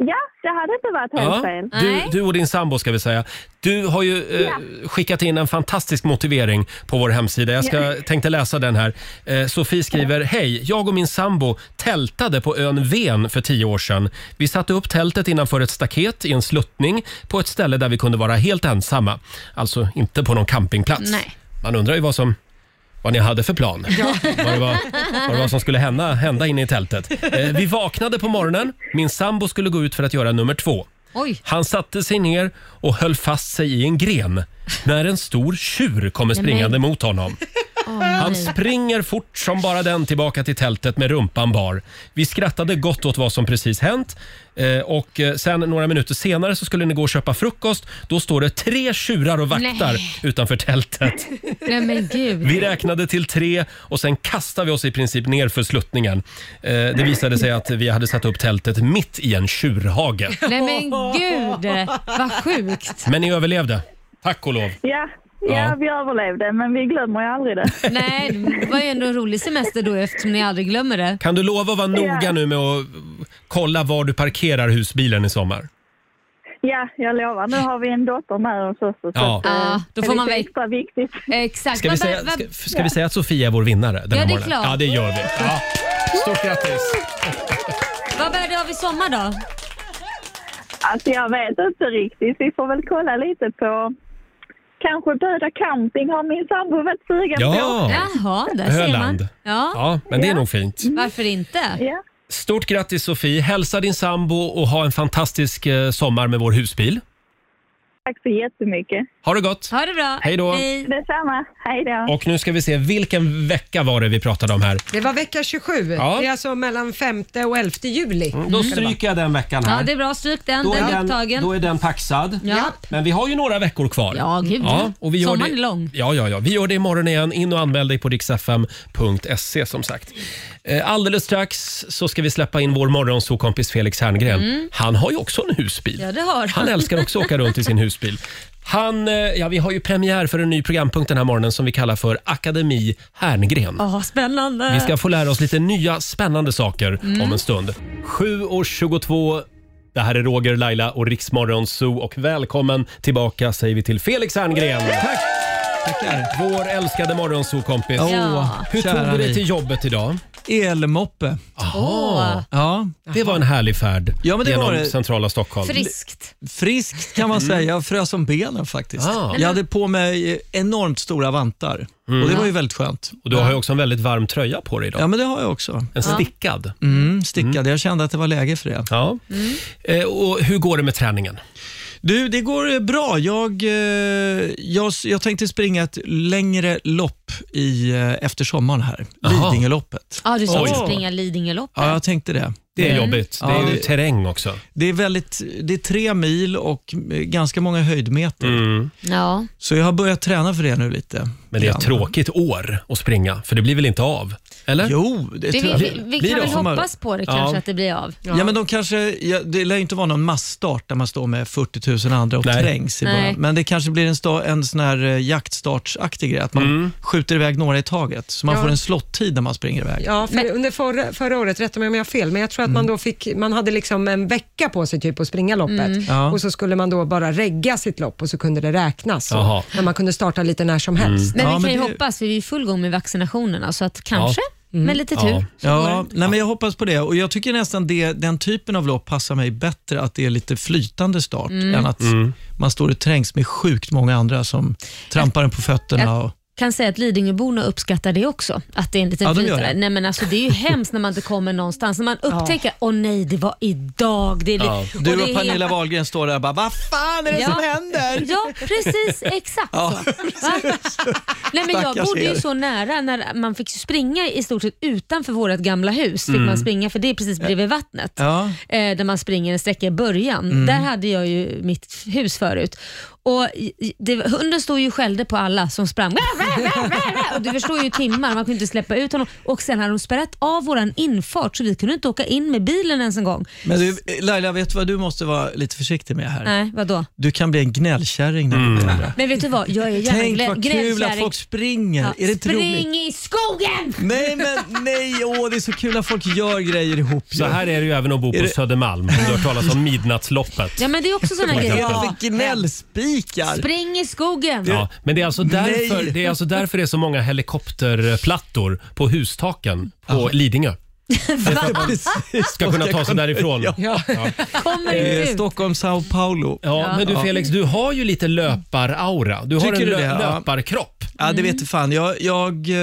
Ja, det hade inte varit helt fel.
Du,
Nej.
du och din sambo ska vi säga. Du har ju eh, skickat in en fantastisk motivering på vår hemsida. Jag ska, tänkte läsa den här. Eh, Sofie skriver, hej, jag och min sambo tältade på ön Ven för tio år sedan. Vi satte upp tältet innanför ett staket i en sluttning på ett ställe där vi kunde vara helt ensamma. Alltså inte på någon campingplats.
Nej.
Man undrar ju vad som vad ni hade för plan. Vad, det var, vad det var som skulle hända, hända inne i tältet. Eh, vi vaknade på morgonen. Min sambo skulle gå ut för att göra nummer två.
Oj,
Han satte sig ner och höll fast sig i en gren när en stor tjur kommer springande mot honom. Han springer fort som bara den tillbaka till tältet med rumpan bar. Vi skrattade gott åt vad som precis hänt. Eh, och eh, sen några minuter senare så skulle ni gå och köpa frukost. Då står det tre tjurar och vaktar
Nej.
utanför tältet.
nej men gud.
Vi räknade till tre och sen kastade vi oss i princip ner för sluttningen. Eh, det visade sig att vi hade satt upp tältet mitt i en tjurhage.
Nej men gud, vad sjukt.
Men ni överlevde. Tack och lov.
Ja,
Ja, vi överlevde, men vi glömmer ju aldrig det.
Nej, det var ju ändå en rolig semester då eftersom ni aldrig glömmer det.
Kan du lova att vara noga nu med att kolla var du parkerar husbilen i sommar?
Ja, jag lovar. Nu har vi en dotter med oss också. eh,
Ja. Ja,
då får man väl-
extra viktigt.
Exakt.
Ska vi
Men
säga,
vad-
ska,
vad-
ska vi säga att Sofia är vår vinnare? Den
Ja,
här
det är
morgonen?
klart.
Ja, det gör vi. Ja. Stort grattis!
Vad bär du av i sommar då?
Alltså jag vet inte riktigt. Vi får väl kolla lite på... Kanske Böda camping har min sambo varit sugen
Ja.
på.
Jaha, där ser
Öland.
man. Ja.
Ja, men det är nog fint.
Varför inte?
Ja.
Stort grattis Sofie! Hälsa din sambo och ha en fantastisk eh, sommar med vår husbil.
Tack så jättemycket.
Ha det gott!
Ha det bra.
Hej då.
Detsamma. Hej då.
Och nu ska vi se, vilken vecka var det vi pratade om här?
Mm.
Det var vecka 27.
Ja. Mm.
Det är alltså mellan 5 och 11 juli.
Då stryker jag den veckan här.
Ja, det är bra. Stryk den.
Då
den
är
är
den,
upptagen.
då är den paxad.
Ja.
Men vi har ju några veckor kvar.
Ja, gud.
och vi gör
Sommaren
det,
är lång.
Ja, ja, ja. Vi gör det imorgon igen. In och anmäl dig på riksfm.se som sagt. Eh, Alldeles strax så ska vi släppa in vår morgonsokompis Felix Herngren.
Mm.
Han har ju också en husbil.
Ja, det har han.
Han älskar också att åka runt i sin husbil. Han, eh, ja, vi har ju premiär för en ny programpunkt den här morgonen som vi kallar för Akademi Herngren.
Åh, spännande.
Vi ska få lära oss lite nya spännande saker
Eh. Mm.
om en stund. 7.22. Det här är Roger, Laila och Riksmorgon Zoo och välkommen tillbaka säger vi till Felix Herngren. Tack! Tackar. Vår älskade morgonzoo-kompis.
Ja.
Hur
Kära
tog du dig
ni.
till jobbet idag?
Elmoppe.
Åh.
Ja.
Det var en härlig färd
Ja, men det
genom
var det.
centrala Stockholm.
Friskt.
Friskt kan man säga. Jag frös om benen faktiskt.
Ah.
Jag hade på mig enormt stora vantar
Mm.
och det var ju väldigt skönt.
Och du har ju också en väldigt varm tröja på dig idag.
Ja, men det har jag också.
En stickad.
Mm, stickad. Jag kände att det var läge för det.
Ja.
Mm.
Eh, Och hur går det med träningen?
Du, det går eh, bra. Jag, eh, jag, jag tänkte springa ett längre lopp i, eh, efter sommaren här.
Jaha.
Lidingöloppet.
Ja, Ah, du ska
Oj.
också springa Lidingöloppet.
Ja, jag tänkte det.
Det är jobbigt. Det
Mm. Ja,
är ju
det-
terräng också.
Det är, väldigt, det är tre mil och eh, ganska många höjdmeter.
Ja.
Så jag har börjat träna för det nu lite.
Men det är
Grann.
ett tråkigt år att springa, för det blir väl inte av? Eller?
Jo, Oh, det,
Det, vi,
tror jag.
vi, vi
Blir
kan väl
av.
hoppas på det kanske att det blir av.
Ja, men de kanske, ja, det lär ju inte vara någon massstart där man står med 40 000 andra och
Nej.
trängs. I
Nej.
början. Men det kanske blir en, sta, en sån här eh, jaktstartsaktig grej, att man skjuter iväg några i taget, så man
Ja.
får en slottid när man springer iväg.
Ja, för under förra, förra året, rätta mig om jag har fel, men jag tror att
Mm.
man då fick, man hade liksom en vecka på sig typ att springa loppet
Mm. Ja.
och så skulle man då bara regga sitt lopp och så kunde det räknas.
Jaha.
Så, men man kunde starta lite när som helst.
Men vi kan ju
det-
hoppas, för vi är i full gång med vaccinationerna, så att kanske, med lite tur.
Ja,
så går det.
nej, men jag hoppas på det. Och Jag tycker nästan det, den typen av lopp passar mig bättre, att det är lite flytande start,
Mm.
än att man står och trängs med sjukt många andra som trampar en på fötterna. Och,
kan säga att Lidingöborna uppskattar det också, att det är en liten
Ja, de gör
flytare.
det.
Nej, men alltså, det är ju hemskt när man inte kommer någonstans. När man upptäcker, åh nej, det var idag. Det är li-
ja.
och
Du
det
och
är
Pernilla
helt-
Wahlgren står där och bara, vad fan är det
Ja.
som händer?
[laughs] Ja, precis. Exakt
Ja, [laughs]
så. Va? Nej, men jag
Stackars
bodde ju
er.
så nära när man fick springa i stort sett utanför vårt gamla hus. Fick
Mm.
man springa, för det är precis bredvid vattnet.
Ja.
eh, där man springer en sträcka i början.
Mm.
Där hade jag ju mitt hus förut. Och i- i- det, hunden stod ju och skällde på alla som sprang. Och du förstår ju i timmar, man kunde inte släppa ut honom. Och Sen hade de spärrat av vår infart så vi kunde inte åka in med bilen ens en gång.
Men du, Laila, vet du vad du måste vara lite försiktig med här?
Nej, vadå?
Du kan bli en gnällkärring när du blir äldre.
Men vet du vad, jag är gärna
Tänk
glä-
vad kul att
gnällkärring.
folk springer.
Ja,
är det inte
spring i
roligt?
skogen!
Nej, men nej, åh, det är så kul att folk gör grejer ihop.
Så här är det ju även att bo
Är
på
det-
Södermalm. Du har talat om midnattsloppet.
Ja men det är också sådana
Man kan
grejer.
inte-
Ja.
Gnällspikar.
Spring i skogen!
Ja, men det är, alltså därför,
Nej.
det är alltså därför det är så många helikopterplattor på hustaken på
[laughs]
Lidingö.
Precis.
Ska kunna ta sig därifrån. Ja.
Ja.
Kommer
Eh,
du ut?
Stockholm, Sao Paulo.
men du Felix, du har ju lite löparaura. Du har
Tycker
en
du
lö-
det? Ja.
löparkropp.
Ja,
Mm.
det vet du fan. Jag, jag, eh,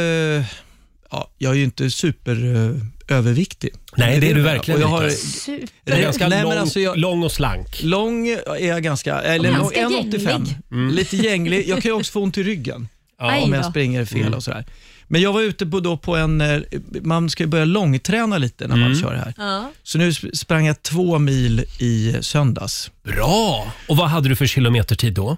ja, jag är ju inte superöverviktig.
Nej, det är du verkligen
och jag har,
inte. Du är
Nej,
ganska
nej, men
lång,
alltså jag-
lång och slank.
Lång är jag ganska, eller lång-
ganska
1,85.
gänglig.
Mm.
Lite gänglig. Jag kan ju också få ont
[laughs]
i ryggen
Ja.
om
Aj
jag
då.
springer fel
Mm.
och sådär. Men jag var ute på, då på en, eh, man ska ju börja långträna lite när man
Mm.
kör det här.
Ja.
Så nu sp- sprang jag två mil i söndags.
Bra! Och vad hade du för kilometertid då?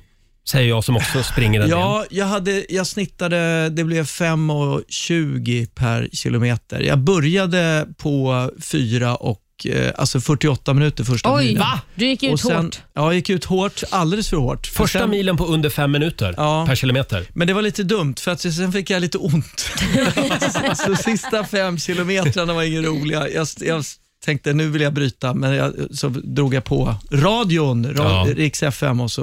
Säger jag som också springer en del.
Ja, jag, hade, jag snittade, det blev 5,20 per kilometer. Jag började på 4 och och eh, alltså 48 minuter första
Oj,
milen.
va? Du gick ut
och sen,
hårt.
Ja, jag gick ut hårt. Alldeles för hårt. För
Första
sen-
milen på under fem minuter per kilometer.
Men det var lite dumt för att sen fick jag lite ont. så sista fem kilometrarna var ingen roliga. Jag, jag tänkte nu vill jag bryta, men jag, så drog jag på radion, ra,
Ja.
Rix FM och så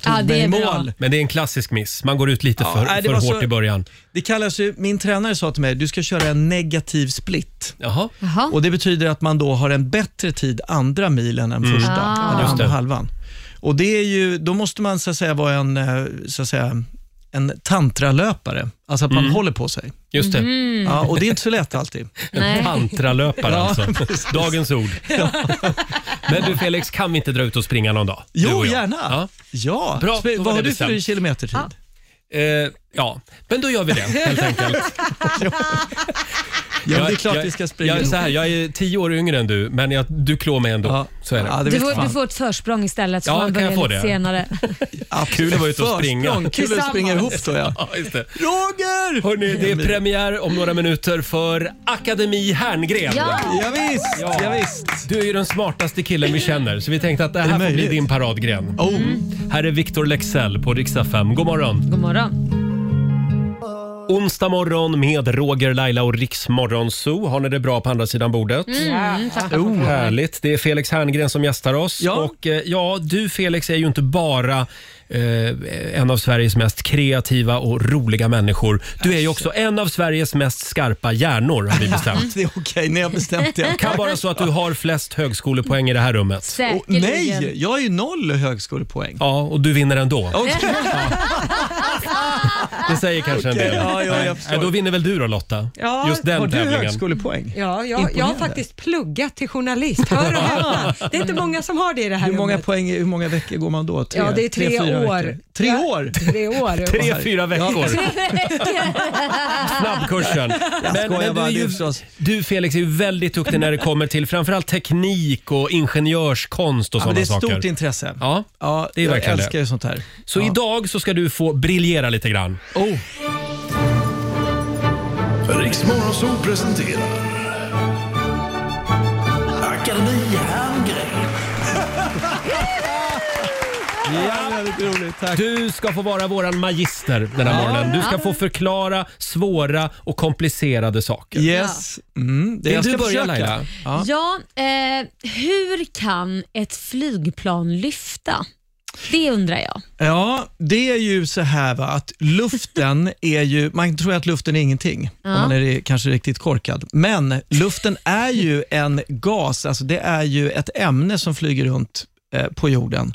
tog mig i mål.
Men det är en klassisk miss. Man går ut lite
Ja,
för,
nej, det
för
var
hårt
så-
i början.
Det kallas ju, min tränare sa till mig, du ska köra en negativ split.
Jaha.
Och Det betyder att man då har en bättre tid andra milen än
Mm.
första,
Ah.
eller
Just
andra
det.
halvan. Och det är ju, då måste man så att säga vara en, eh, så att säga, en tantralöpare, alltså att man
Mm.
håller på sig.
Just det.
Mm.
Mhm.
Ja, och det är inte så lätt alltid.
En tantralöpare
Ja,
alltså.
precis.
Dagens
[laughs]
ord. Men du Felix, kan vi inte dra ut och springa någon dag? Du
Jo,
och jag.
gärna. Ja.
[laughs] Bra, då
Spe-
var
Vad har
det
du för
bestämt.
kilometertid?
Eh, ja, men då gör vi det helt
[laughs]
enkelt.
Ja, men
Jag-
det är klart
jag,
vi ska springa.
Jag är, så här, jag är tio år yngre än du, men jag, du klår mig ändå. Så är det.
du, får, du får ett försprång istället så
Ja,
får man
kan jag
börja
få
lite
det?
senare.
Kul att vara ute och springa.
Försprång, kul att springa ihop då, ja.
just det.
Roger!
Hörrni, det är
[laughs]
premiär om några minuter för Akademi Herngren.
Ja! Ja, visst, ja, visst.
Du är ju den smartaste killen vi känner, så vi tänkte att det här får bli
möjligt? Oh.
din paradgren. Här är Victor Lexell på riksdag 5. God morgon!
God morgon.
Onsdag morgon med Roger, Laila och Riksmorgon Zoo. Har ni det bra på andra sidan bordet?
Mm, tackar för
Oh,
frågan.
härligt. Det är Felix Herngren som gästar oss. Och eh, ja, du Felix är ju inte bara eh, en av Sveriges mest kreativa och roliga människor. Du är ju också en av Sveriges mest skarpa hjärnor har vi bestämt.
det är okej, ni har bestämt
Det
[laughs]
det.
kan vara så att du har flest högskolepoäng i det här rummet.
Åh, nej, jag har ju noll högskolepoäng.
Ja, och du vinner ändå.
Okej.
Det säger kanske en
Okej,
del.
ja, ja, jag förstår.
Nej, då vinner väl du då Lotta?
Ja,
Just den
har du
tävlingen.
högskolepoäng?
Ja, jag, jag har
Imponerande.
faktiskt pluggat till journalist. Hör och häpna. Det är inte många som har det i det här
Hur många
rummet.
poäng, hur många veckor går man då? Tre,
Ja, det är tre
fyra
år.
veckor. Tre år?
Tre år.
Tre, fyra veckor. Snabbkursen.
Jag
Men,
skojar
men du,
bara,
är
det är
ju,
förstås.
du Felix är ju väldigt duktig när det kommer till framförallt teknik och ingenjörskonst och
Ja,
sådana
men det är ett
saker.
stort intresse.
Ja,
ja
det är
jag
verkligen
älskar
det.
ju sånt här.
Så idag så ska du få briljera lite grann.
Oh.
Riksmorgonzoo presenterar Akademi Herngren.
Du ska få vara våran magister den här
Ja.
morgonen. Du ska
Ja.
få förklara svåra och komplicerade saker.
Yes. Mm, det
Vill
jag
du
ska
börja
försöka.
Laila?
Ja.
Ja, eh, hur kan ett flygplan lyfta? Det undrar jag.
Ja, det är ju så här va, att luften [laughs] är ju, man tror att luften är ingenting,
Ja.
om man är ri- kanske riktigt korkad. Men luften är ju en gas, alltså det är ju ett ämne som flyger runt eh, på jorden.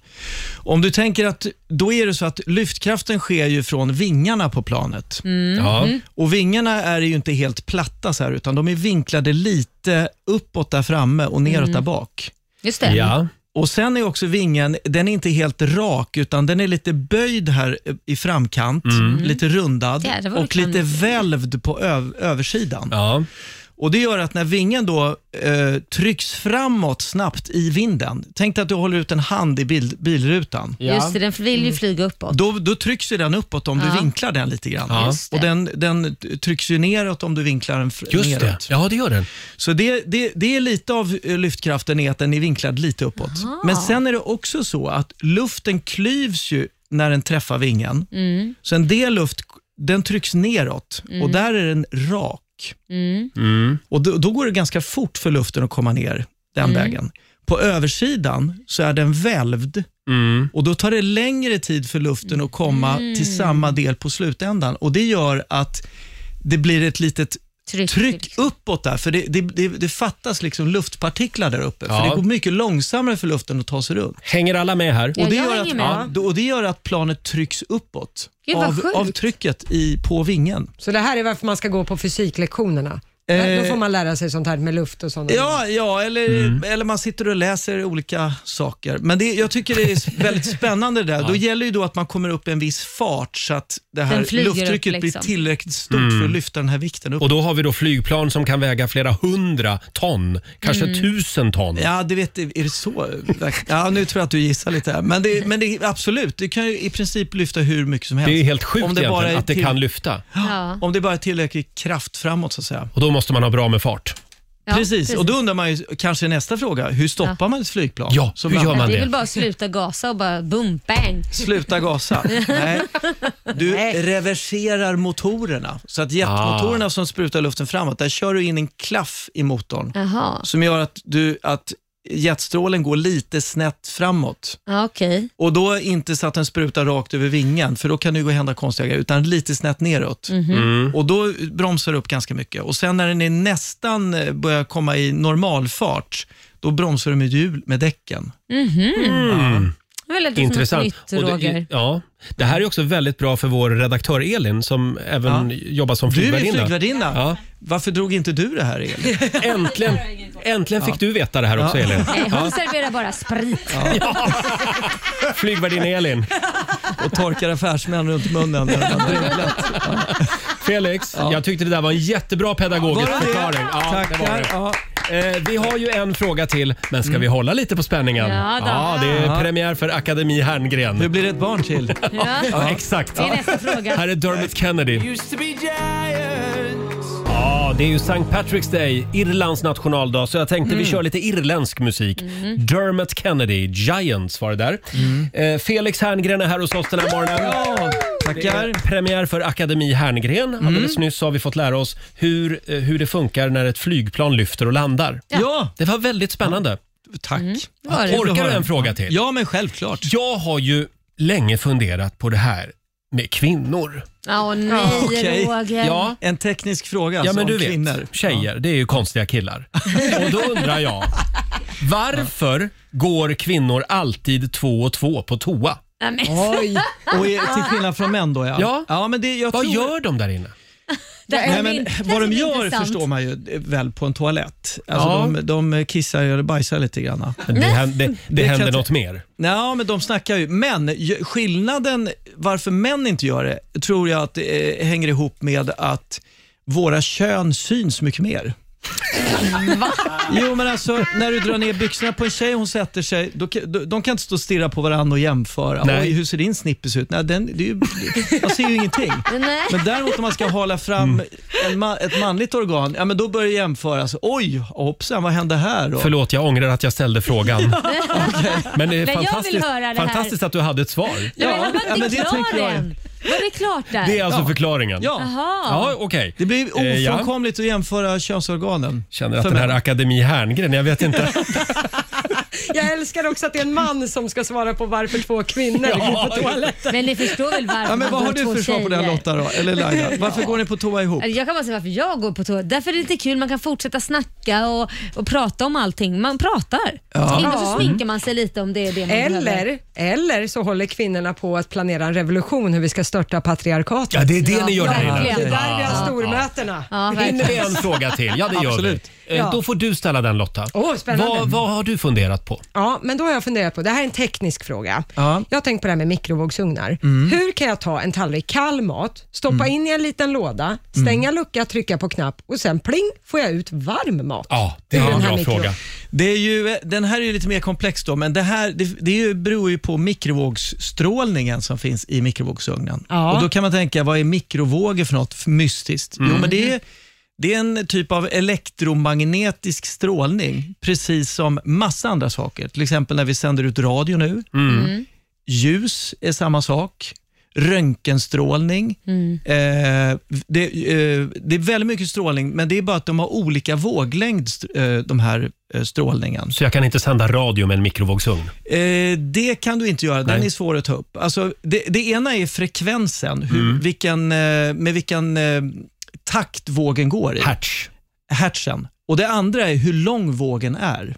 Om du tänker att, då är det så att lyftkraften sker ju från vingarna på planet.
Mm. Ja.
Och vingarna är ju inte helt platta så här, utan de är vinklade lite uppåt där framme och neråt
Mm.
där bak.
Just det.
Och sen är också vingen, den är inte helt rak utan den är lite böjd här eh, i framkant,
Mm.
lite rundad
Ja, det var
och
väl
lite
klantigt.
välvd på öv- översidan. Och Det gör att när vingen då eh, trycks framåt snabbt i vinden, tänk dig att du håller ut en hand i bil, bilrutan.
Just det, den vill ju flyga uppåt.
Då, då trycks ju den uppåt om
Ja.
du vinklar den lite grann.
Ja. Just
Och den, den trycks ju neråt om du vinklar den fr-
Just
neråt.
det. Ja, det gör den.
Så det, det, det är lite av eh, lyftkraften, är att den är vinklad lite uppåt.
Aha.
Men sen är det också så att luften klyvs ju när den träffar vingen.
Mm.
Så en del luft den trycks neråt
Mm.
och där är den rak.
Mm.
Och då, då går det ganska fort för luften att komma ner den
Mm.
vägen. På översidan så är den välvd och då tar det längre tid för luften att komma
Mm.
till samma del på slutändan. Och Det gör att det blir ett litet
tryck,
uppåt där, för det, det, det, det fattas liksom luftpartiklar där uppe.
Ja.
För Det går mycket långsammare för luften att ta sig runt.
Hänger alla med här?
Och det,
jag
gör
hänger
att,
med.
ja, då- och det gör att planet trycks uppåt
Gud, vad
av,
sjukt.
av trycket i, på vingen.
Så det här är varför man ska gå på fysiklektionerna.
Eh.
Då får man lära sig sånt här med luft och sånt.
Ja, ja eller, eller man sitter och läser olika saker. Men det, jag tycker det är väldigt spännande det där. Då gäller ju då att man kommer upp i en viss fart så att det
Den
här
flyger upp,
lufttrycket
liksom.
blir tillräckligt stort
Mm.
för att lyfta den här vikten upp.
Och då har vi då flygplan som kan väga flera hundra ton, kanske
Mm.
tusen ton.
Ja, du vet, är det så? Ja, nu tror jag att du gissar lite här. Men, det, men det, absolut, det kan ju i princip lyfta hur mycket som helst.
Det är helt sjukt
Om det bara
egentligen
är
att det
till-
kan lyfta.
Om det bara är tillräcklig kraft framåt så att säga.
Och då måste man ha bra med fart.
Ja,
precis.
precis.
och då undrar man ju kanske nästa fråga, hur stoppar man ett flygplan? Ja,
hur gör
det är väl bara att sluta gasa och bara boom, bang. [laughs]
Sluta gasa. Nej. Du reverserar motorerna. Så att jetmotorerna som sprutar luften framåt, där kör du in en klaff i motorn
Jaha,
som gör att, du, att jetstrålen går lite snett framåt.
ja, okej.
Och då inte så att den sprutar rakt över vingen, för då kan det ju gå hända konstiga grejer, utan lite snett neråt.
Mhm. Mm.
Och då bromsar det upp ganska mycket. Och sen när den är nästan eh, börjar komma i normalfart, då bromsar du med hjul med däcken.
Mhm. Det var lite Intressant.
Intressant.
Något nytt,
Och
Roger.
det, ja, det här är också väldigt bra för vår redaktör Elin som även jobbar som
Du är ju
flygvärdinna.
flygvärdinna.
Ja.
Varför drog inte du det här Elin?
Äntligen, äntligen fick du veta det här också
Ja.
Elin.
Nej, hon
Ja.
serverar bara sprit.
Flygvärdinna Elin.
Och torkar affärsmän
[laughs]
runt munnen.
Felix, jag tyckte det där var en jättebra pedagogisk
Var det det?
förklaring. Ja, det var det. Eh, vi har ju en fråga till, men ska vi hålla lite på spänningen?
Ja, då.
det är
Ja.
premiär för Akademi Herngren. Nu
blir det ett barn till.
ja. exakt.
Det är nästa fråga.
Här är Dermot Kennedy.
Used to be giant.
Ja, det är ju St. Patrick's Day, Irlands nationaldag, så jag tänkte
Mm.
vi kör lite irländsk musik. Dermot Kennedy, Giants var det där. Eh, Felix Herngren är här hos oss den här morgonen. Det är premiär för Akademi Herngren. Alldeles nyss har vi fått lära oss hur, eh, hur det funkar när ett flygplan lyfter och landar.
Ja.
Det var väldigt spännande.
Tack.
var det.
Orkar du en fråga till?
Ja, men självklart.
Jag har ju länge funderat på det här med kvinnor.
Åh nej,
okej.
Roger.
Ja.
En teknisk fråga
Ja,
alltså,
men
om
du vet,
kvinnor.
tjejer, det är ju konstiga killar. Och då undrar jag, varför går kvinnor alltid två och två på toa?
Nej, men-
Oj. Och är, till skillnad från män då ja.
Ja.
men det, jag
Vad
tror...
gör de där inne?
Det här
Nej,
är
men,
inte-
vad de
det är
gör
intressant.
förstår man ju eh, väl på en toalett. Alltså,
Ja.
de, de kissar eller bajsar lite grann.
Det, händer, det, det
kan
händer
jag-
något mer.
Ja, men de snackar ju. Men ju- skillnaden varför män inte gör det tror jag att det eh, hänger ihop med att våra kön syns mycket
[laughs]
mer. Jo men alltså när du drar ner byxorna på en tjej hon sätter sig, då, kan- då, de kan inte stå och stirra på varandra och jämföra.
Nej.
Oj, hur ser din snippis ut? Nej, den, det är ju, man ser ju ingenting.
Nej.
Men däremot om man ska hala fram
Mm.
en ma- ett manligt organ, ja, men då börjar det jämföras. Oj, hoppsan, vad hände här? då?
Förlåt, jag ångrar att jag ställde
[laughs]
frågan. Men det är
Men jag vill
fantastiskt,
höra det här.
fantastiskt att du hade ett svar.
Nej, men
Ja,
han var
ja,
inte
men det
klar
tänker jag.
än. Var det klart där?
Det är alltså
Ja.
förklaringen.
Ja.
Ja,
Jaha.
okej.
Det blir
Eh, ja.
ofrånkomligt att jämföra könsorganen.
Känner att
För
den här
män.
Akademi Herngren, jag vet inte.
Jag älskar också att det är en man som ska svara på varför två kvinnor går på toaletten.
Men ni förstår väl varför
Ja, men
man
vad
går
har du
två
för svar på det här,
tjejer?
Lotta då? Eller Laila? Varför går ni på toa ihop?
Alltså, Jag kan bara säga varför jag går på toa. Därför är det lite kul, man kan fortsätta snacka och, och prata om allting. Man pratar.
Ja.
Inte så
Ja.
sminkar man sig lite om det är det man behöver.
Eller, eller så håller kvinnorna på att planera en revolution hur vi ska störta patriarkatet.
Ja, det är det ni gör där
verkligen.
inne.
Det är där vi
Ja.
har stormötena.
Ja,
Hinner
verkligen.
vi en fråga till? Ja, det gör
Absolut.
vi. Eh,
Ja.
Då får du ställa den Lotta.
Åh, spännande.
Vad, vad har du funderat på?
Ja, men då har jag funderat på, det här är en teknisk fråga.
Ja.
Jag har tänkt på det här med mikrovågsugnar.
Mm.
Hur kan jag ta en tallrik kall mat, stoppa in i en liten låda,
Mm.
stänga lucka, trycka på knapp och sen pling får jag ut varm mat?
Ja, det är
Den
en
här
bra
mikro-
fråga.
Det är ju, den här är ju lite mer komplex då, men det här det, det är ju, beror ju på mikrovågsstrålningen som finns i mikrovågsugnen.
Ja.
Och då kan man tänka, vad är mikrovågor för något mystiskt? Jo, men det är, det är en typ av elektromagnetisk strålning, precis som massa andra saker. Till exempel när vi sänder ut radio nu. Ljus är samma sak. Röntgenstrålning. Eh, det, eh, det är väldigt mycket strålning, men det är bara att de har olika våglängd, str- eh, de här eh, strålningen.
Så jag kan inte sända radio med en mikrovågsugn?
Eh, det kan du inte göra, den
Nej.
är svår att ta upp. Alltså, det, det ena är frekvensen, hur, vilken, eh, med vilken eh, takt vågen går i,
Hertz.
hertzen. Och det andra är hur lång vågen är.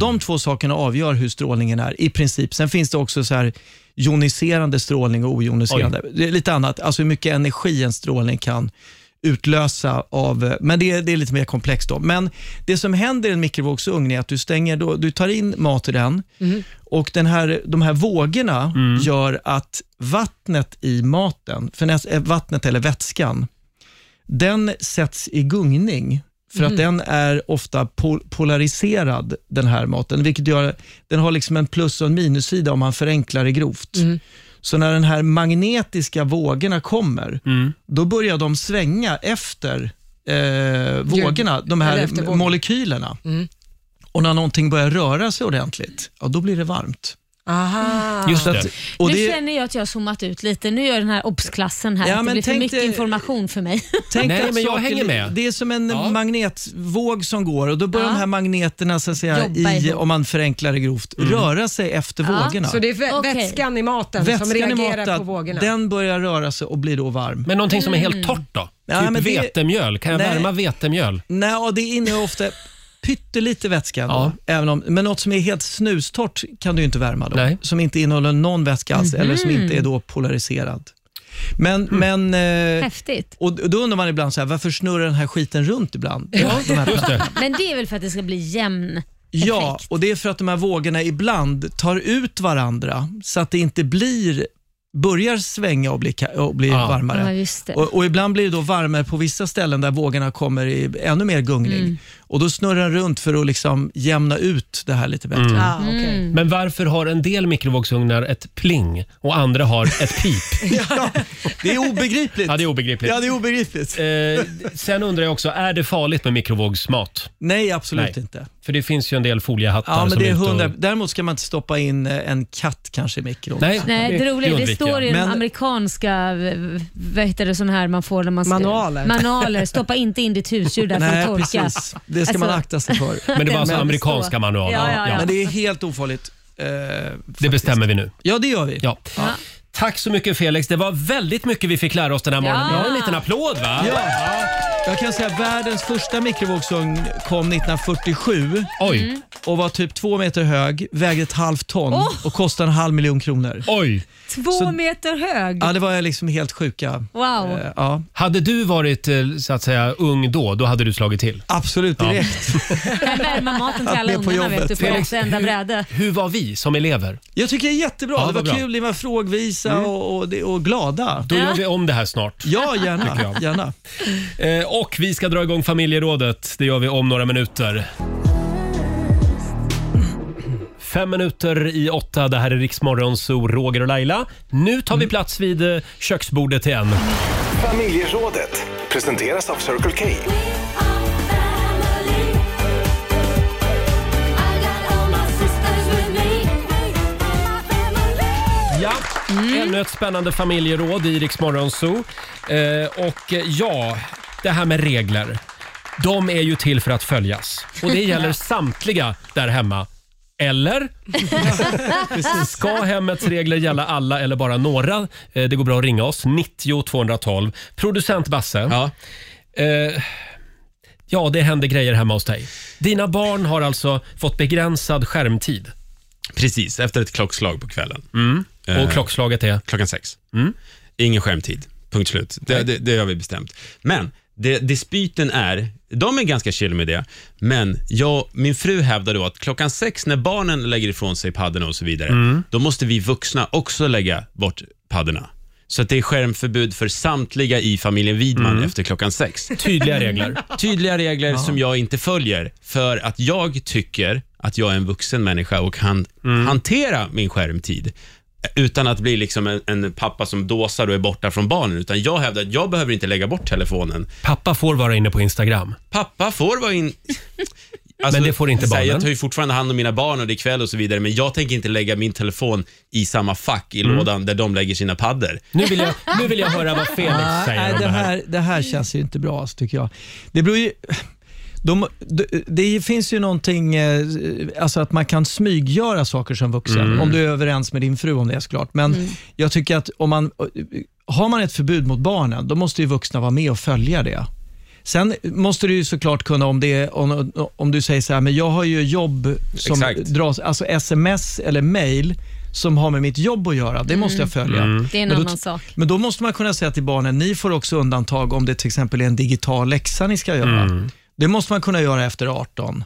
De två sakerna avgör hur strålningen är i princip. Sen finns det också så här joniserande strålning och ojoniserande. Det är lite annat, alltså hur mycket energi en strålning kan utlösa av, eh, men det är, det är lite mer komplext då. Men det som händer i en mikrovågsugn är att du stänger, då, du tar in mat i den och den här, de här vågorna gör att vattnet i maten, för näs- eh, vattnet eller vätskan, den sätts i gungning för att den är ofta pol- polariserad, den här maten. Vilket gör, den har liksom en plus och en minussida om man förenklar det grovt. Så när den
Mm.
här magnetiska vågorna kommer, då börjar de svänga efter
eh, vågorna, de här
eller Mm. eftervågor.
molekylerna. Och när någonting börjar röra sig ordentligt, ja, då blir det varmt.
Ah.
Aha.
Just det. Och
nu
det-
känner jag att jag har zoomat ut lite. Nu gör den här obs-klassen här.
Ja,
att det
men
blir för
tänk
mycket
dig-
information för mig. [laughs]
Tänk att saker- Det är som en
Ja.
magnetvåg som går och då börjar de här magneterna, så att säga,
Jobba
i,
ihop. Mm.
om man förenklar det grovt, röra sig efter vågorna.
Så det är vä- vätskan i maten som
Vätskan i
reagerar
maten,
på vågorna?
den börjar röra sig och blir då varm.
Men någonting som är
Mm.
helt torrt då? Typ vetemjöl. Kan jag värma vetemjöl?
Nej, ja, det innehåller ofta pyttelite vätska. Då, även om, men något som är helt snustort kan du ju inte värma då. Som inte innehåller någon vätska alls eller som
Mhm.
inte är då polariserad. Men, men, eh,
Häftigt.
och då undrar man ibland så här, varför snurrar den här skiten runt ibland? De här plattorna.
Men det är väl för att det ska bli jämn
Ja, och det är för att de här vågorna ibland tar ut varandra så att det inte blir börjar svänga och bli, ka- och bli
Ja.
varmare.
Ja, just det.
Och, och Ibland blir det då varmare på vissa ställen där vågorna kommer i ännu mer gungning.
Mm.
Och Då snurrar den runt för att liksom jämna ut det här lite bättre.
Mm.
[laughs]
Men varför har en del mikrovågsugnar ett pling och andra har ett pip?
det är obegripligt.
Ja, det är obegripligt.
Ja, det är obegripligt.
Eh, sen undrar jag också, är det farligt med mikrovågsmat?
Nej, absolut inte.
För det finns ju en del foliehattar
Ja, men
som
det är
ute och-
hundra. Däremot ska man inte stoppa in eh, en katt kanske i mikron.
Nej,
Nej, det roliga är det
undviker
står i
jag.
de
Men-
amerikanska v- vad heter det, sån här man får när man ska,
Manualer.
Manualer. Stoppa inte in ditt husdjur där för
Nej,
att torka.
precis. Det ska man akta sig för.
[laughs] Men det var alltså
Men-
amerikanska manualer.
Ja, ja, ja. Men det är
helt
ofarligt. eh,
det bestämmer vi nu.
Ja, det gör vi.
Ja. Tack så mycket Felix. Det var väldigt mycket vi fick lära oss den här morgonen. Vi har en liten applåd va?
Ja. Jag kan säga att världens första mikrovågsugn kom 1947
Oj. Mm.
och var typ två meter hög, vägde ett halvt ton
Åh!
och kostade en halv miljon kronor.
Oj!
Två meter hög.
Ja, det var liksom helt sjuka.
Wow.
Eh, Ja.
Hade du varit eh, så att säga ung då, då hade du slagit till?
Absolut,
direkt.
Kan värma maten till
Att
alla
med på
ungarna
jobbet.
vet du, på
Felix,
ett enda
hur-
bräde.
Hur var vi som elever?
Jag tycker det är jättebra.
Ja,
det var
vad bra. Mm.
kul, ni var frågvisa och, och, det- och glada.
Då gör vi om det här snart.
Ja,
tycker
gärna.
jag.
gärna.
Eh, Och vi ska dra igång familjerådet. Det gör vi om några minuter. Fem minuter i åtta. Det här är Riksmorgon, så Roger och Laila. Nu tar vi plats vid eh, köksbordet igen.
Familjerådet presenteras av Circle K.
Ja, ännu ett spännande familjeråd i Rix Morgon Zoo. Eh, och eh, ja, det här med regler. De är ju till för att följas. Och det gäller samtliga där hemma. Eller? Precis. Ska hemmets regler gälla alla eller bara några? Eh, Det går bra att ringa oss. 90 212. Producent Basse. Ja. Eh, ja, det händer grejer hemma hos dig. Dina barn har alltså fått begränsad skärmtid.
Precis, efter ett klockslag på kvällen.
Mm. Och
Eh,
klockslaget är?
Klockan sex. Ingen skärmtid, punkt slut. Det, det, det har vi bestämt. Men det, dispyten är, de är ganska chill med det, men jag, min fru hävdar då att klockan sex när barnen lägger ifrån sig paddorna och så vidare,
Mm.
då måste vi vuxna också lägga bort paddorna. Så att det är skärmförbud för samtliga i familjen Widman
Mm.
efter klockan sex.
Tydliga regler.
Tydliga regler som jag inte följer för att jag tycker att jag är en vuxen människa och kan
Mm.
hantera min skärmtid utan att bli liksom en, en pappa som dåsar och är borta från barnen. Utan jag hävdar att jag behöver inte lägga bort telefonen.
Pappa får vara inne på Instagram.
Pappa får vara in...
[laughs]
Alltså,
Men det får inte
så här,
barnen.
Jag tar ju fortfarande hand om mina barn och det är kväll och så vidare, men jag tänker inte lägga min telefon i samma fack i
Mm.
lådan där de lägger sina paddor.
Nu vill jag, nu vill jag höra vad Felix
Nej,
säger
nej,
om
det, här, det här känns ju inte bra, tycker jag. Det beror ju... De, de, det finns ju någonting, eh, alltså att man kan smyggöra saker som vuxen,
Mm.
om du är överens med din fru om det såklart. Men
Mm.
jag tycker att om man, har man ett förbud mot barnen, då måste ju vuxna vara med och följa det. Sen måste du ju såklart kunna, om, det, är- om, om du säger så här, men jag har ju jobb som
Exakt.
dras, alltså sms eller mail som har med mitt jobb att göra, det måste jag
Mm.
följa.
Mm. Det är en
Men då-
annan sak.
men då måste man kunna säga till barnen, ni får också undantag om det till exempel är en digital läxa ni ska göra. Det måste man kunna göra efter 18.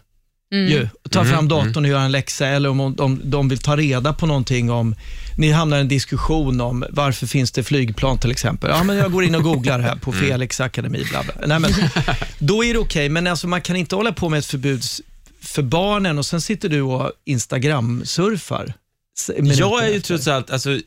Mm.
Ju, ta
Mm,
fram datorn och göra en läxa eller om, om, om de vill ta reda på någonting om, ni hamnar i en diskussion om varför finns det flygplan till exempel. Ja, men jag går in och googlar här på
Mm.
Felix akademi, bla bla. Nej, men, då är det okej, men alltså, man kan inte hålla på med ett förbud s- för barnen och sen sitter du och Instagram-surfar. s-
Jag
minuterna
är ju
efter.
trots allt, alltså,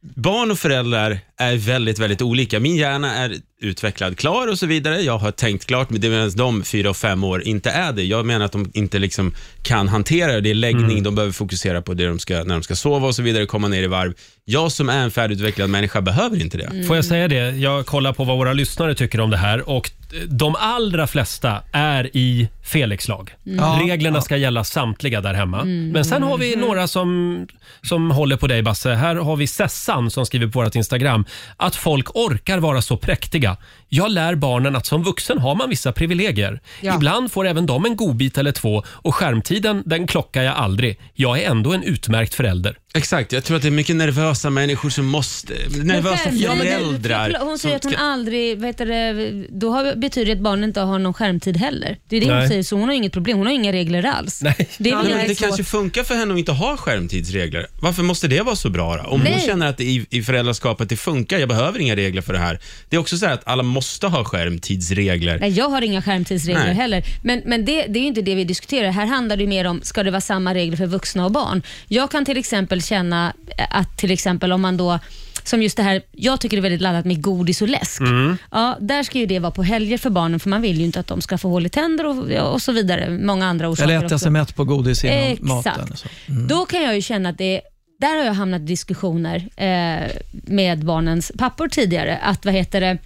barn och föräldrar är väldigt, väldigt olika. Min hjärna är utvecklad, klar och så vidare. Jag har tänkt klart, men det är medan de fyra och fem år inte är det. Jag menar att de inte liksom kan hantera det. Det är läggning,
Mm.
de behöver fokusera på det de ska, när de ska sova och så vidare, komma ner i varv. Jag som är en färdigutvecklad människa behöver inte det.
Får jag säga det? Jag kollar på vad våra lyssnare tycker om det här och de allra flesta är i Felix lag.
Mm. Ja.
Reglerna ska gälla samtliga där hemma.
Mm.
Men sen har vi några som, som håller på dig Basse. Här har vi Sessan som skriver på vårt Instagram att folk orkar vara så präktiga. Jag lär barnen att som vuxen har man vissa privilegier.
Ja.
Ibland får även de en godbit eller två och skärmtiden den klockar jag aldrig. Jag är ändå en utmärkt förälder.
Exakt, jag tror att det är mycket nervösa människor som måste... Nervösa
Men själv-
föräldrar.
Hon
som
säger att hon
ska-
aldrig, vet du, det, då har, betyder det att barnen inte har någon skärmtid heller. Det är det
Nej.
hon säger, så hon har inget problem. Hon har inga regler alls.
Nej.
Det är väl
men det
jävligt
kanske
svårt.
funkar för henne att inte ha skärmtidsregler. Varför måste det vara så bra då? Om hon
Nej.
känner att det i, i föräldraskapet det funkar, jag behöver inga regler för det här. Det är också så här att alla måste ha skärmtidsregler.
Nej, jag har inga skärmtidsregler
Nej.
heller. Men, men det, det är ju inte det vi diskuterar. Här handlar det ju mer om, ska det vara samma regler för vuxna och barn? Jag kan till exempel känna eh, att till exempel om man då, som just det här, jag tycker det är väldigt laddat med godis och läsk.
Mm.
Ja, där ska ju det vara på helger för barnen, för man vill ju inte att de ska få hål i tänder och, och så vidare. Många andra orsaker
Eller äta
också.
sig mätt på godis innan
Exakt.
maten. och Så.
Då kan jag ju känna att det där har jag hamnat i diskussioner eh, med barnens pappor tidigare. Att vad heter det,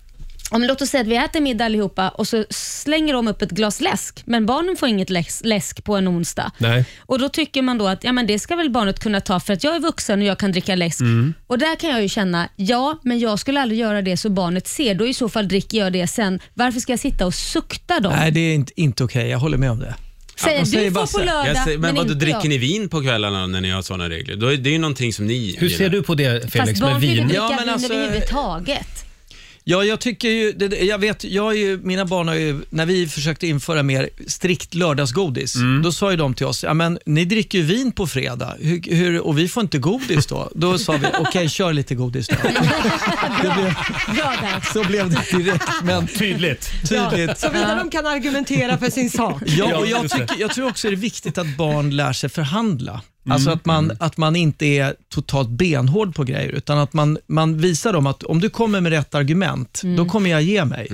om, låt oss säga att vi äter middag allihopa och så slänger de upp ett glas läsk, men barnen får inget läsk, läsk på en onsdag.
Nej.
Och Då tycker man då att ja, men det ska väl barnet kunna ta för att jag är vuxen och jag kan dricka läsk.
Mm.
Och Där kan jag ju känna, ja, men jag skulle aldrig göra det så barnet ser. Då i så fall dricker jag det sen. Varför ska jag sitta och sukta då?
Nej, det är inte, inte okej. Jag håller med om det.
Säger
Vad
du får på lördag,
jag säger,
men
men vadå,
inte
dricker
jag.
ni vin på kvällarna när ni har sådana regler? Då är, det är ju någonting som ni
Hur ser du på det
Fast barn får ju inte dricka
Ja, men
vin
alltså- [laughs]
överhuvudtaget.
Ja, jag tycker ju, det- det- jag vet, jag är ju, mina barn har ju, när vi försökte införa mer strikt lördagsgodis, då sa ju de till oss, ja men ni dricker ju vin på fredag hur, hur, och vi får inte godis då. Då sa vi, okej kör lite godis då. [laughs] Så blev det direkt. Men
tydligt.
Tydligt.
Ja, Såvida de kan argumentera för
[laughs]
sin sak.
Ja, och jag, tycker, jag tror också det är viktigt att barn lär sig förhandla. Alltså att man, att man inte är totalt benhård på grejer, utan att man, man visar dem att om du kommer med rätt argument, då kommer jag ge mig.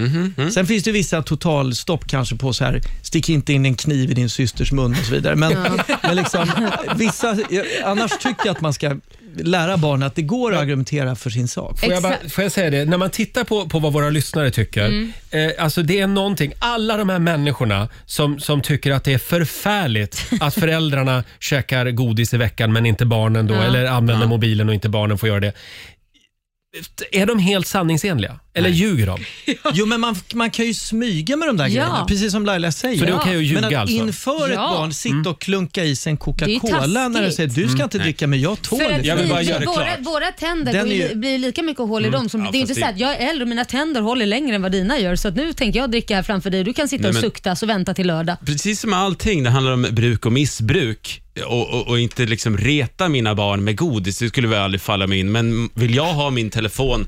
Sen finns det vissa totalstopp kanske på så här, stick inte in en kniv i din systers mun och så vidare. Men,
Ja.
[laughs] men liksom, vissa, annars tycker jag att man ska lära barn att det går att argumentera för sin sak.
Får jag, bara, får jag säga det? När man tittar på, på vad våra lyssnare tycker.
Mm.
Eh, alltså det är någonting, alla de här människorna som, som tycker att det är
[laughs]
förfärligt att föräldrarna käkar godis i veckan men inte barnen då,
Ja.
eller använder mobilen och inte barnen får göra det. Är de helt sanningsenliga? Eller ljuger de?
Jo, men man, man kan ju smyga med de där
Ja.
grejerna, precis som Laila säger.
Så det är okej att ljuga
men att
alltså?
inför ett
Ja.
barn sitta och klunka i sig en
Det är
Coca-Cola
ju
när du säger du
taskigt.
ska inte
Mm.
dricka men jag tål
För att
det.
vi, våra, våra tänder
Den
går ju,
är ju-
blir lika mycket hål i
Mm.
dem. Som,
Ja,
det är ju inte
fast
så
det-
att jag är äldre och mina tänder håller längre än vad dina gör. Så att nu tänker jag dricka här framför dig. Du kan sitta
Nej,
och
men-
sukta och vänta till lördag.
Precis som med allting, det handlar om bruk och missbruk och, och, och inte liksom reta mina barn med godis, det skulle väl aldrig falla mig in. Men vill jag ha min telefon,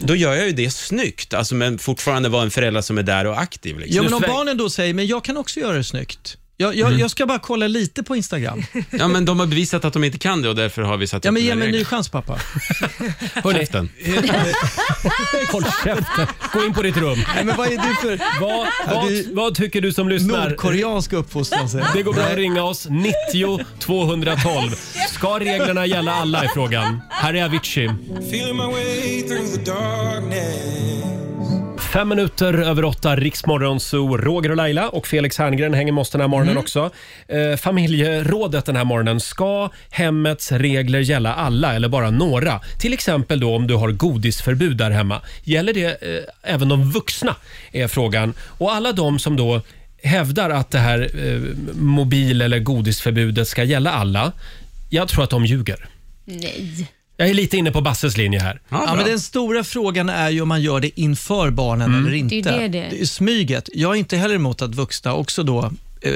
då gör jag ju det snyggt, alltså, men fortfarande vara en förälder som är där och aktiv. Liksom.
Ja, men om
Släng-
barnen då säger men jag kan också göra det snyggt. Jag, jag,
Mm.
jag ska bara kolla lite
[laughs]
på Instagram.
Ja, men de har bevisat att de inte kan det och därför har vi satt
Ja, men
upp
ge
den här
mig en ny
regeln.
[laughs]
chans pappa.
Käften.
Håll käften. Gå in på ditt rum.
Nej, men vad är du för...
Vad, vad, vad tycker du som lyssnar?
Nordkoreansk uppfostran säger jag.
Det går bra att ringa oss. 90 212. Ska reglerna gälla alla i frågan? Här är Avicii.
Feeling my way through the darkness.
Fem minuter över åtta, Riksmorgon, så Roger och Laila och Felix Herngren hänger med oss den här morgonen också. Eh, familjerådet den här morgonen. Ska hemmets regler gälla alla eller bara några? Till exempel då om du har godisförbud där hemma. Gäller det eh, även de vuxna? Är frågan. Och alla de som då hävdar att det här eh, mobil eller godisförbudet ska gälla alla. Jag tror att de ljuger.
Nej.
Jag är lite inne på Basses linje här.
Ja, men den stora frågan är ju om man gör det inför barnen
Mm.
eller
Det är
inte.
ju det det är.
är smyget. Jag är inte heller emot att vuxna också då eh,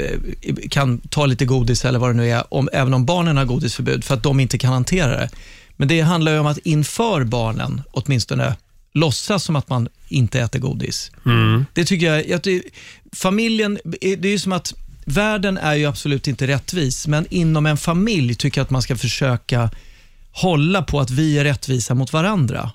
kan ta lite godis eller vad det nu är, om, även om barnen har godisförbud, för att de inte kan hantera det. Men det handlar ju om att inför barnen åtminstone låtsas som att man inte äter godis. Det tycker jag, jag ty- familjen, eh, det är ju som att världen är ju absolut inte rättvis, men inom en familj tycker jag att man ska försöka hålla på att vi är rättvisa mot varandra.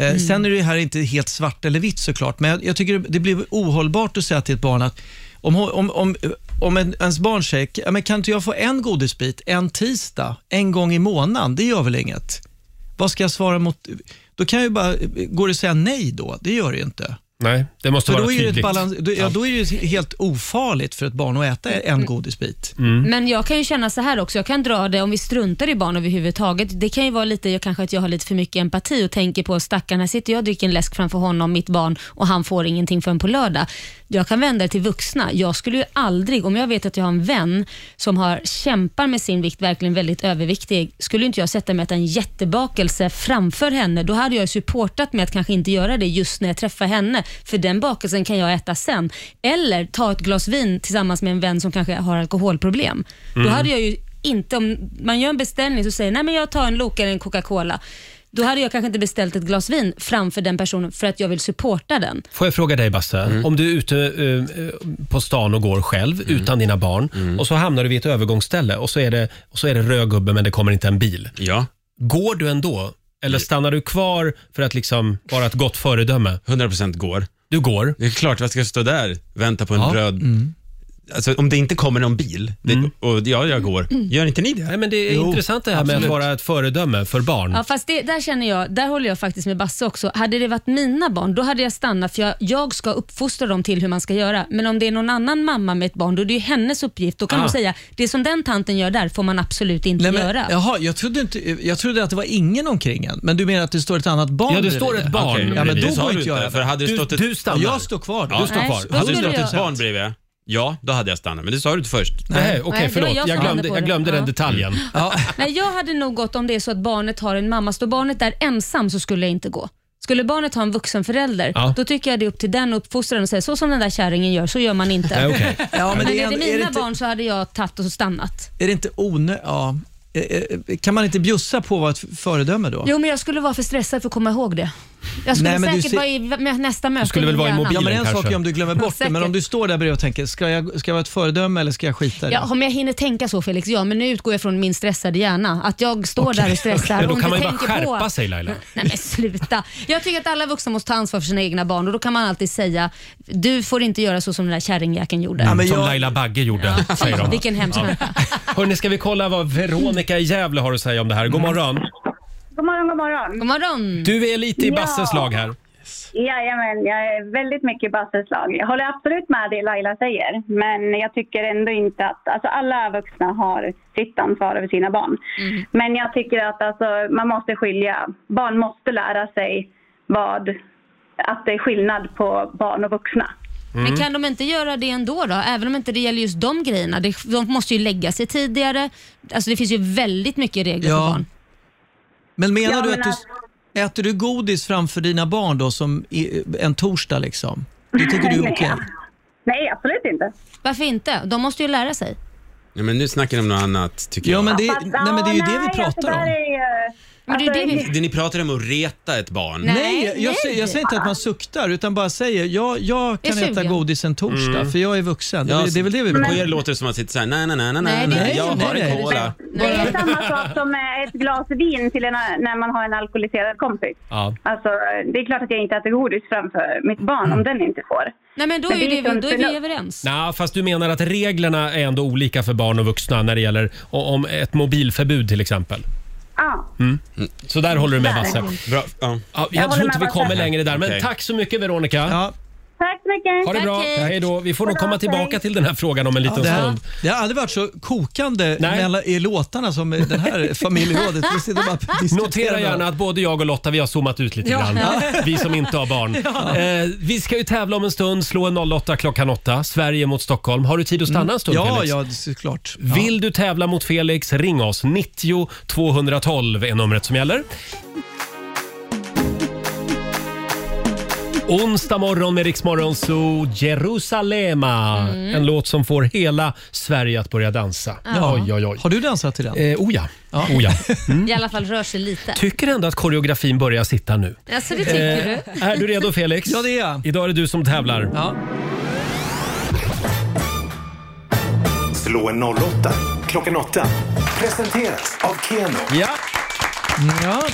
Eh,
Mm.
Sen är det här inte helt svart eller vitt såklart, men jag, jag tycker det blir ohållbart att säga till ett barn att om, hon- om, om, om en, ens barn säger, "Ja, men kan inte jag få en godisbit en tisdag, en gång i månaden, det gör väl inget? Vad ska jag svara mot? Då kan jag ju bara, går det att säga nej då? Det gör det ju inte.
Nej, det måste
För
vara
då är det ett
tydligt.
balans, då, ja, då är det ju helt ofarligt för ett barn att äta en godisbit.
Mm.
Men jag kan ju känna så här också, jag kan dra det om vi struntar i barn överhuvudtaget. Det kan ju vara lite, jag kanske att jag har lite för mycket empati och tänker på stackarn, här sitter jag och dricker en läsk framför honom, mitt barn, och han får ingenting förrän på lördag. Jag kan vända det till vuxna. Jag skulle ju aldrig, om jag vet att jag har en vän som har, kämpar med sin vikt, verkligen väldigt överviktig, skulle inte jag sätta mig att äta en jättebakelse framför henne. Då hade jag ju supportat med att kanske inte göra det just när jag träffar henne, för den bakelsen kan jag äta sen. Eller ta ett glas vin tillsammans med en vän som kanske har alkoholproblem.
Mm.
Då hade jag ju inte, om man gör en beställning så säger nej men jag tar en Loka eller en Coca-Cola. Då hade jag kanske inte beställt ett glas vin framför den personen för att jag vill supporta den.
Får jag fråga dig Basse,
Mm.
om du är ute eh, på stan och går själv utan dina barn
Mm.
och så hamnar du vid ett övergångsställe och så är det, och så är det röd gubbe men det kommer inte en bil.
Ja.
Går du ändå? Eller
Mm.
stannar du kvar för att liksom vara ett gott föredöme?
100% går.
Du går?
Det är klart jag ska stå där vänta på en
Ja.
röd...
mm.
Alltså, om det inte kommer någon bil, det, och ja, jag går.
Mm.
Gör inte ni det?
Mm. Nej, men det är
Jo,
intressant det här med
absolut.
att vara ett föredöme för barn.
Ja, fast det, där känner jag, där håller jag faktiskt med Basse också. Hade det varit mina barn, då hade jag stannat för jag, jag ska uppfostra dem till hur man ska göra. Men om det är någon annan mamma med ett barn, då är det ju hennes uppgift. Då kan
Ah.
hon säga, det som den tanten gör där får man absolut inte
Nej, men,
göra.
Jaha, jag trodde, inte, jag trodde att det var ingen omkring en, men du menar att det står ett annat barn
Ja, det
bredvid
står ett barn
Okej, Ja, men
bredvid.
då
Det sa
går
du
inte jag
inte,
över.
för hade det stått ett-
Jag står kvar.
Ja.
står Nej, kvar. då
Hade det
skulle
stått
jag-
ett barn bredvid, ja, då hade jag stannat. Men det sa du inte först.
Nej,
okej, Nej, det förlåt. var jag Jag som glömde- vände på jag det. glömde den Ja.
detaljen.
Nej, jag hade nog gått om det är så att barnet har en mamma. Står barnet där ensam så skulle jag inte gå. Skulle barnet ha en vuxen förälder,
Ja.
då tycker jag det är upp till den uppfostraren och säga så som den där kärringen gör, så gör man inte.
Nej, okej. Ja, men
men
det är
är det
ändå- är
mina
det inte-
barn så hade jag tagit och stannat.
Är det inte onö... Ja. Eh, eh, Kan man inte bjussa på att vara ett föredöme då?
Jo, men jag skulle vara för stressad för att komma ihåg det. Jag skulle
Nej, men du
säkert
ser-
vara i med nästa möte.
Ja, men en sak är om du glömmer bort det, men om
Säkert.
du står där bredvid och tänker, ska jag, ska jag vara ett föredöme eller ska jag skita i det?
Ja, om jag hinner tänka så Felix, ja, men nu utgår jag från min stressade hjärna. Att jag står där och stressar
Men då
och
kan man
inte
ju bara
tänker på...
skärpa sig Laila.
Nej men sluta. Jag tycker att alla vuxna måste ta ansvar för sina egna barn och då kan man alltid säga, du får inte göra så som den där kärringjäkeln gjorde.
Som Laila Bagge gjorde, säger de.
Vilken hemsk människa. [laughs]
Hörni, ska vi kolla vad Veronica i Gävle har att säga om det här? God morgon.
God morgon, god morgon.
God morgon.
Du är lite i Basses lag här.
Jajamän, jag är väldigt mycket i Basses lag. Jag håller absolut med det Laila säger, men jag tycker ändå inte att... Alltså alla vuxna har sitt ansvar över sina barn. Men jag tycker att alltså, man måste skilja. Barn måste lära sig vad, att det är skillnad på barn och vuxna.
Mm.
Men kan de inte göra det ändå då? Även om inte det gäller just de grejerna. Det- De måste ju lägga sig tidigare. Alltså det finns ju väldigt mycket regler för barn.
Men menar
Ja,
du
men alltså-
att du... Äter du godis framför dina barn då, som i, eh, en torsdag liksom? Det tycker du
[laughs]
är okej?
Nej, absolut inte.
Varför inte? De måste ju lära sig.
Ja, men nu snackar ni om något annat, tycker jag.
Fast, ja, nej, alltså, där Är, ju-
Men det är Alltså, det vi-
Det ni pratar om att reta ett barn.
Nej, jag, Säger, jag säger inte att man suktar, utan bara säger, jag, jag
Är
kan äta
sugen.
godis en torsdag,
Mm.
för jag är vuxen.
Ja,
det, det är väl det vi
På er låter det som att sitta såhär, nej, nej, nej, nej,
Nej,
nej,
det är
nej,
inte
jag
så.
har en
Nej,
cola.
Det är samma sak som eh, ett glas vin till en, när man har en alkoholiserad kompis.
Ja.
Alltså, det är klart att jag inte äter godis framför mitt barn om den inte får.
Nej, men då är,
Men
ju
det är
det,
sunt
då är vi
förnuft.
överens.
Nej, fast du menar att reglerna är ändå olika för barn och vuxna när det gäller o- om ett mobilförbud till exempel?
Ja.
Mm. Så där håller du med Basse.
Bra, ja.
Ja,
Jag
jag
håller
tror inte
med
vi kommer
Basse.
längre där, men
Okej.
tack så mycket Veronica.
Tack så mycket.
Ha det bra. Hej då. Vi får nog komma tillbaka till den här frågan om en liten
det, här,
stund.
det har aldrig varit så kokande
Nej.
mellan, i låtarna som i
[laughs]
den här familjerådet. Vi sitter bara och diskuterar
Notera gärna att både jag och Lotta vi har zoomat ut lite
Ja.
grann.
Ja.
Vi som inte har barn.
Ja.
Eh, vi ska ju tävla om en stund. Slå en 08 klockan 8. Sverige mot Stockholm. Har du tid att stanna en stund
Mm. Ja,
Felix?
ja, det är såklart. Ja.
Vill du tävla mot Felix, ring oss. 90 212 är numret som gäller. Onsdag morgon med Riksmorgon Zoo, Jerusalema.
Mm.
En låt som får hela Sverige att börja dansa.
Ja.
Oj, oj, oj. Har
du dansat till den?
Eh, oh ja. Oh
[laughs]
ja.
I alla fall rör sig lite.
Tycker ändå att koreografin börjar sitta nu.
Alltså det tycker
Eh,
du?
Är du redo Felix? Ja,
det är jag.
Idag är det du som tävlar.
Slå en 08 klockan 8. Presenteras av Keno.
Ja.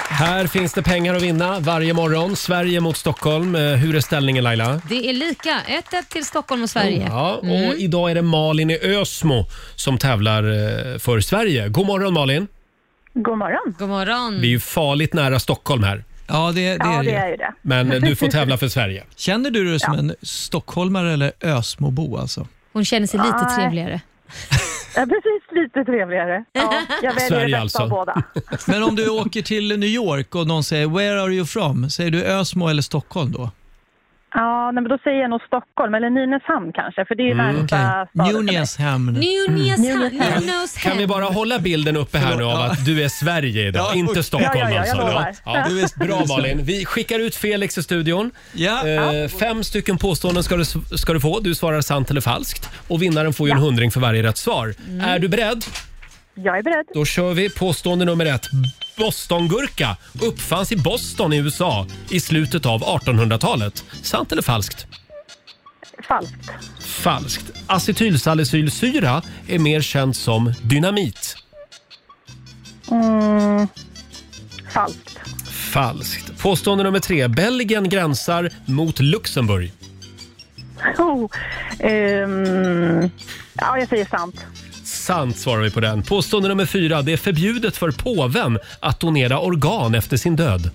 Här finns det pengar att vinna varje morgon. Sverige mot Stockholm. Eh, Hur är ställningen Laila?
Det är lika. 1-1 till Stockholm och Sverige.
Ja, och
Mm.
idag är det Malin i Ösmo som tävlar eh, för Sverige. God morgon Malin!
God morgon. God morgon.
Vi
Mm.
är ju farligt nära Stockholm här.
Ja, det,
Ja, det är ju det. Men, eh, du får tävla för Sverige.
Känner du dig som en stockholmare eller Ösmobo? Alltså?
Hon känner sig lite
Nej.
Mm.
trevligare.
Ja, precis. Lite trevligare. Ja, jag väljer
Sverige
det bästa
alltså.
av båda.
Men om du åker till New York och någon säger “Where are you from?” Säger du Ösmo eller Stockholm då?
Ja, nej, men då säger jag nog Stockholm eller Nynäshamn kanske, för det är ju
Mm,
närmsta
okej. Nunäshamn.
Nynäshamn.
Kan vi bara hålla bilden uppe här nu av att du är Sverige idag,
Ja,
inte
okej.
Stockholm
Ja, ja, ja, jag
alltså?
lovar. Du är-
Bra Malin. Vi skickar ut Felix i studion. Eh, fem stycken påståenden ska du, ska du få. Du svarar sant eller falskt. Och vinnaren får ju en hundring för varje rätt svar.
Mm.
Är du beredd?
Jag är beredd.
Då kör vi påstående nummer ett. Bostongurka uppfanns i Boston i USA i slutet av 1800-talet. Sant eller falskt?
Falskt.
Falskt. Acetylsalicylsyra är mer känd som dynamit.
Mm, falskt. [laughs]
Falskt. Påstående nummer tre. Belgien gränsar mot Luxemburg.
Oh, ehm, ja, jag säger sant.
Sant svarar vi på den. Påstående nummer fyra. Det är förbjudet för påven att donera organ efter sin död.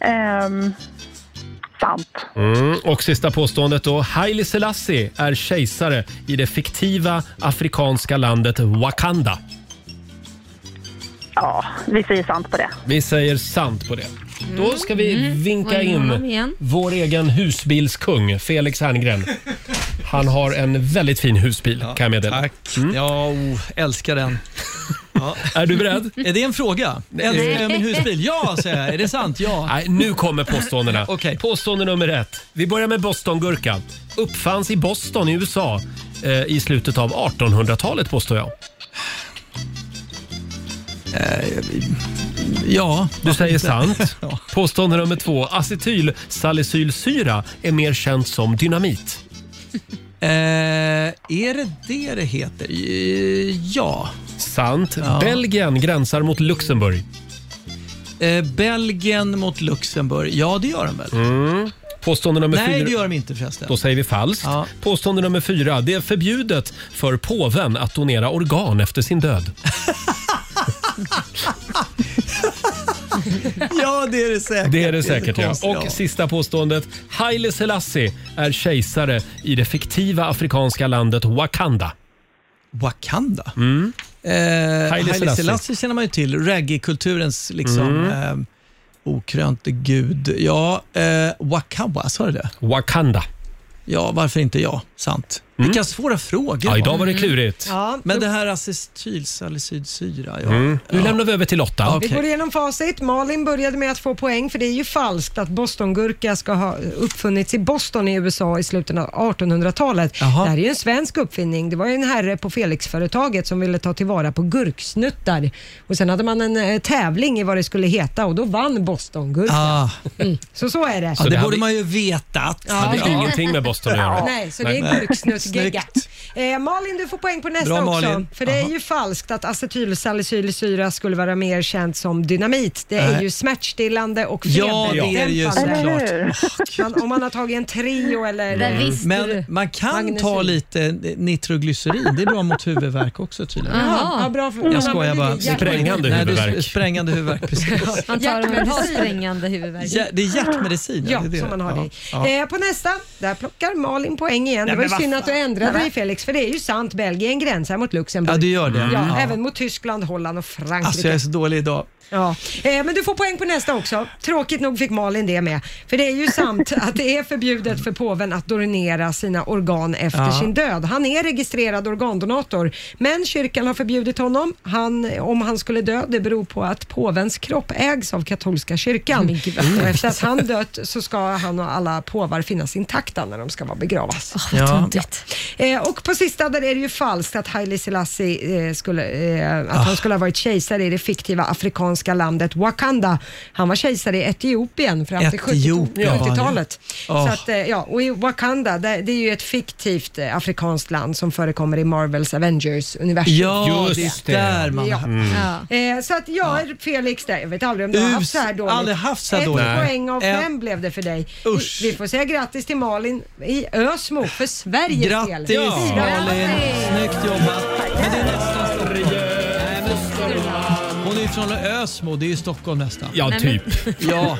Ehm, sant.
Mm. Och sista påståendet då. Haile Selassie är kejsare i det fiktiva afrikanska landet Wakanda.
Ja, vi säger sant på det.
Vi säger sant på det. Då ska vi vinka
Mm. Vad är honom
in
igen?
vår egen husbilskung, Felix Herngren. Han har en väldigt fin husbil kan jag meddela. Mm. Tack.
Ja, oh, älskar den.
Är du beredd?
Är det en fråga? Älskar jag min husbil? Ja, säger jag. Är det sant? Ja.
Nej, nu kommer påståendena. Påstående nummer ett. Vi börjar med Bostongurkan. Uppfanns i Boston i USA eh, i slutet av 1800-talet påstår jag.
Ja.
Du säger
inte?
sant.
[laughs]
Påstående nummer två. Acetylsalicylsyra är mer känt som dynamit.
Eh, är det det det heter? Eh, Ja.
Sant. Belgien gränsar mot Luxemburg.
Eh, Belgien mot Luxemburg. Ja, det gör de väl?
Mm. Påstående nummer
Nej,
fyra.
det gör de inte förresten.
Då säger vi falskt. Påstående nummer fyra. Det är förbjudet för påven att donera organ efter sin död.
Ja, det är [laughs] det säkert.
Det är det säkert ja.
konstigt,
Och sista påståendet. Haile Selassie är kejsare i det fiktiva afrikanska landet Wakanda.
Wakanda?
Mm.
Eh, Haile
Selassie.
Selassie känner man ju till. Reggae-kulturens liksom,
Mm.
eh, okrönte gud. Ja, eh, Wakawa, sa du det?
Wakanda.
Ja, varför inte jag? Sant. Vilka svåra frågor.
Mm. Ja, idag var det klurigt.
Ja.
Men det här acetylsalicylsyra, ja.
Mm. Nu lämnar vi över till Lotta.
Vi går igenom facit. Malin började med att få poäng för det är ju falskt att bostongurka ska ha eh, uppfunnits i Boston i USA i slutet av 1800-talet. Det här är ju en svensk uppfinning. Det var ju en herre på Felix-företaget som ville ta tillvara på gurksnuttar. Och sen hade man en eh, tävling i vad det skulle heta och då vann bostongurkan.
Ah.
Mm. Så så är det.
Ja, det borde man ju vetat.
Ja. Hade
ingenting med Boston att göra.
Nej, så det är
Nej.
en gurksnuttgegga. Eh, Malin, du får poäng på nästa
Bra,
också.
Malin.
För det är ju falskt att acetylsalicylsyra skulle vara mer känt som dynamit. Det är
Nej.
ju smärtstillande och
Ja, det är det ju
feberdämpande.
såklart. Eller
Man, om man har tagit en Trio eller...
Men man kan ta lite nitroglycerin. Det är bra mot huvudvärk också tydligen.
Jaha, Mm. ja, bra för-
Jag skojar bara.
Sprängande
Nej, det är
huvudvärk.
Sprängande
[laughs]
huvudvärk, precis.
Han tar om en har
Hjärtmedicin.
sprängande huvudvärk.
Ja, det är hjärtmedicin.
Ja,
det är det.
som man har det i.
Ja, ja.
Eh, på nästa, där plockar Malin poäng igen.
Nej,
det var ju
men vad
synd att du ändrade
Nej,
dig Felix, för det är ju sant. Belgien gränsar mot Luxemburg.
Ja, det gör det.
Ja,
Mm. Ja.
Även mot Tyskland, Holland och Frankrike.
Alltså jag är så dålig idag.
Ja, eh, men du får poäng på nästa också. Tråkigt nog fick Malin det med. För det är ju sant att det är förbjudet för påven att donera sina organ efter
Ja.
sin död. Han är registrerad organdonator, men kyrkan har förbjudit honom han, om han skulle dö. Det beror på att påvens kropp ägs av katolska kyrkan. Och efter
Mm.
att han dött så ska han och alla påvar finnas intakta när de ska vara begravas.
Ja.
Eh, och på sista där är det ju falskt att Haile Selassie eh, skulle, eh, att
Ah.
han skulle ha varit kejsare i det fiktiva afrikanska landet Wakanda. Han var kejsare i Etiopien fram till
Etiopien var han ju.
70-talet.
Ah.
Så att, eh, ja, och i Wakanda, det, det är ju ett fiktivt eh, afrikanskt land som förekommer i Marvels Avengers-universum.
Ja, det är där man...
Ja.
Mm.
Eh, så att jag är Felix där. Jag vet aldrig om du har
Ah. Us-
haft så här dåligt.
aldrig haft så här
Ett
dåligt. Nej.
poäng av
Eh,
fem blev det för dig. Vi, vi får säga grattis till Malin i Ösmo för Sveriges del.
Grattis Malin, snyggt jobbat. Men det är nästan Stockholm. Nej, men Stockholm. Hon är ju från Ösmo, det är ju Stockholm nästan.
Ja,
Nej, men- typ.
Ja.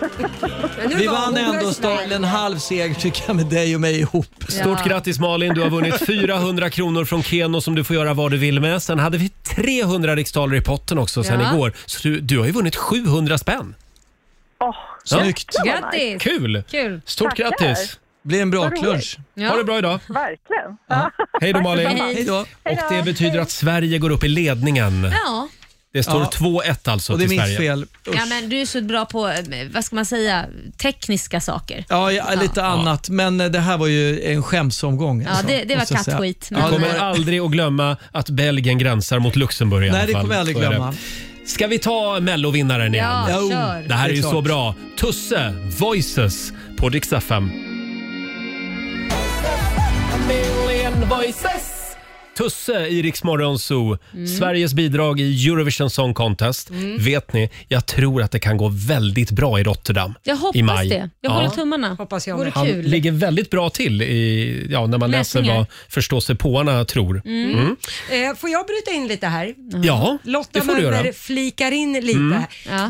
Men nu
Vi
var
vann
hon
ändå
röstad.
Stockholm, en halv seger tycker jag med dig och mig ihop.
Stort grattis Malin, du har
[laughs]
vunnit 400 kronor från Keno som du får göra vad du vill med. Sen hade vi 300 riksdaler i potten också sen
Ja.
igår. Så du, du har ju vunnit 700 spänn.
Åh,
Snyggt!
Grattis!
Kul!
Kul.
Stort
Tackar.
grattis!
Blir en bra
Vad roligt. lunch. Ja.
Ha det bra idag!
Verkligen.
Hej då Malin!
Hej. Hej då.
Och det betyder att Sverige går upp i ledningen.
Ja.
Det står
Ja.
2-1 alltså
Och det är
till
mitt
Sverige.
fel.
ja, men du är så bra på, eh, vad ska man säga, tekniska saker.
Ja, ja lite annat. Men eh, det här var ju en skämsomgång.
Ja,
alltså,
det- det var
måste jag säga.
kattskit,
Du kommer aldrig att glömma att Belgien gränsar mot Luxemburg i
Nej,
alla
det
fall.
kommer jag aldrig
Så är det.
glömma.
Ska vi ta mellovinnaren igen?
Ja, Jo, kör.
Det här är
det är
ju så
klart.
bra. Tusse, Voices på Dix FM.
Million voices.
Tusse i Rix Morgon Zoo.
Mm.
Sveriges bidrag i Eurovision Song Contest.
Mm.
Vet ni, jag tror att det kan gå väldigt bra i Rotterdam
Jag hoppas
i maj.
det. Jag
Ja.
håller tummarna.
Hoppas jag
Vore
Han
kul.
ligger väldigt bra till i, ja, när man läser
Läsningar.
vad förståsigpåarna tror.
Mm.
Mm.
Eh, får jag bryta in lite här?
Mm.
Ja,
Lotta
Mm. det får du
Möller
göra.
flikar in lite.
Mm.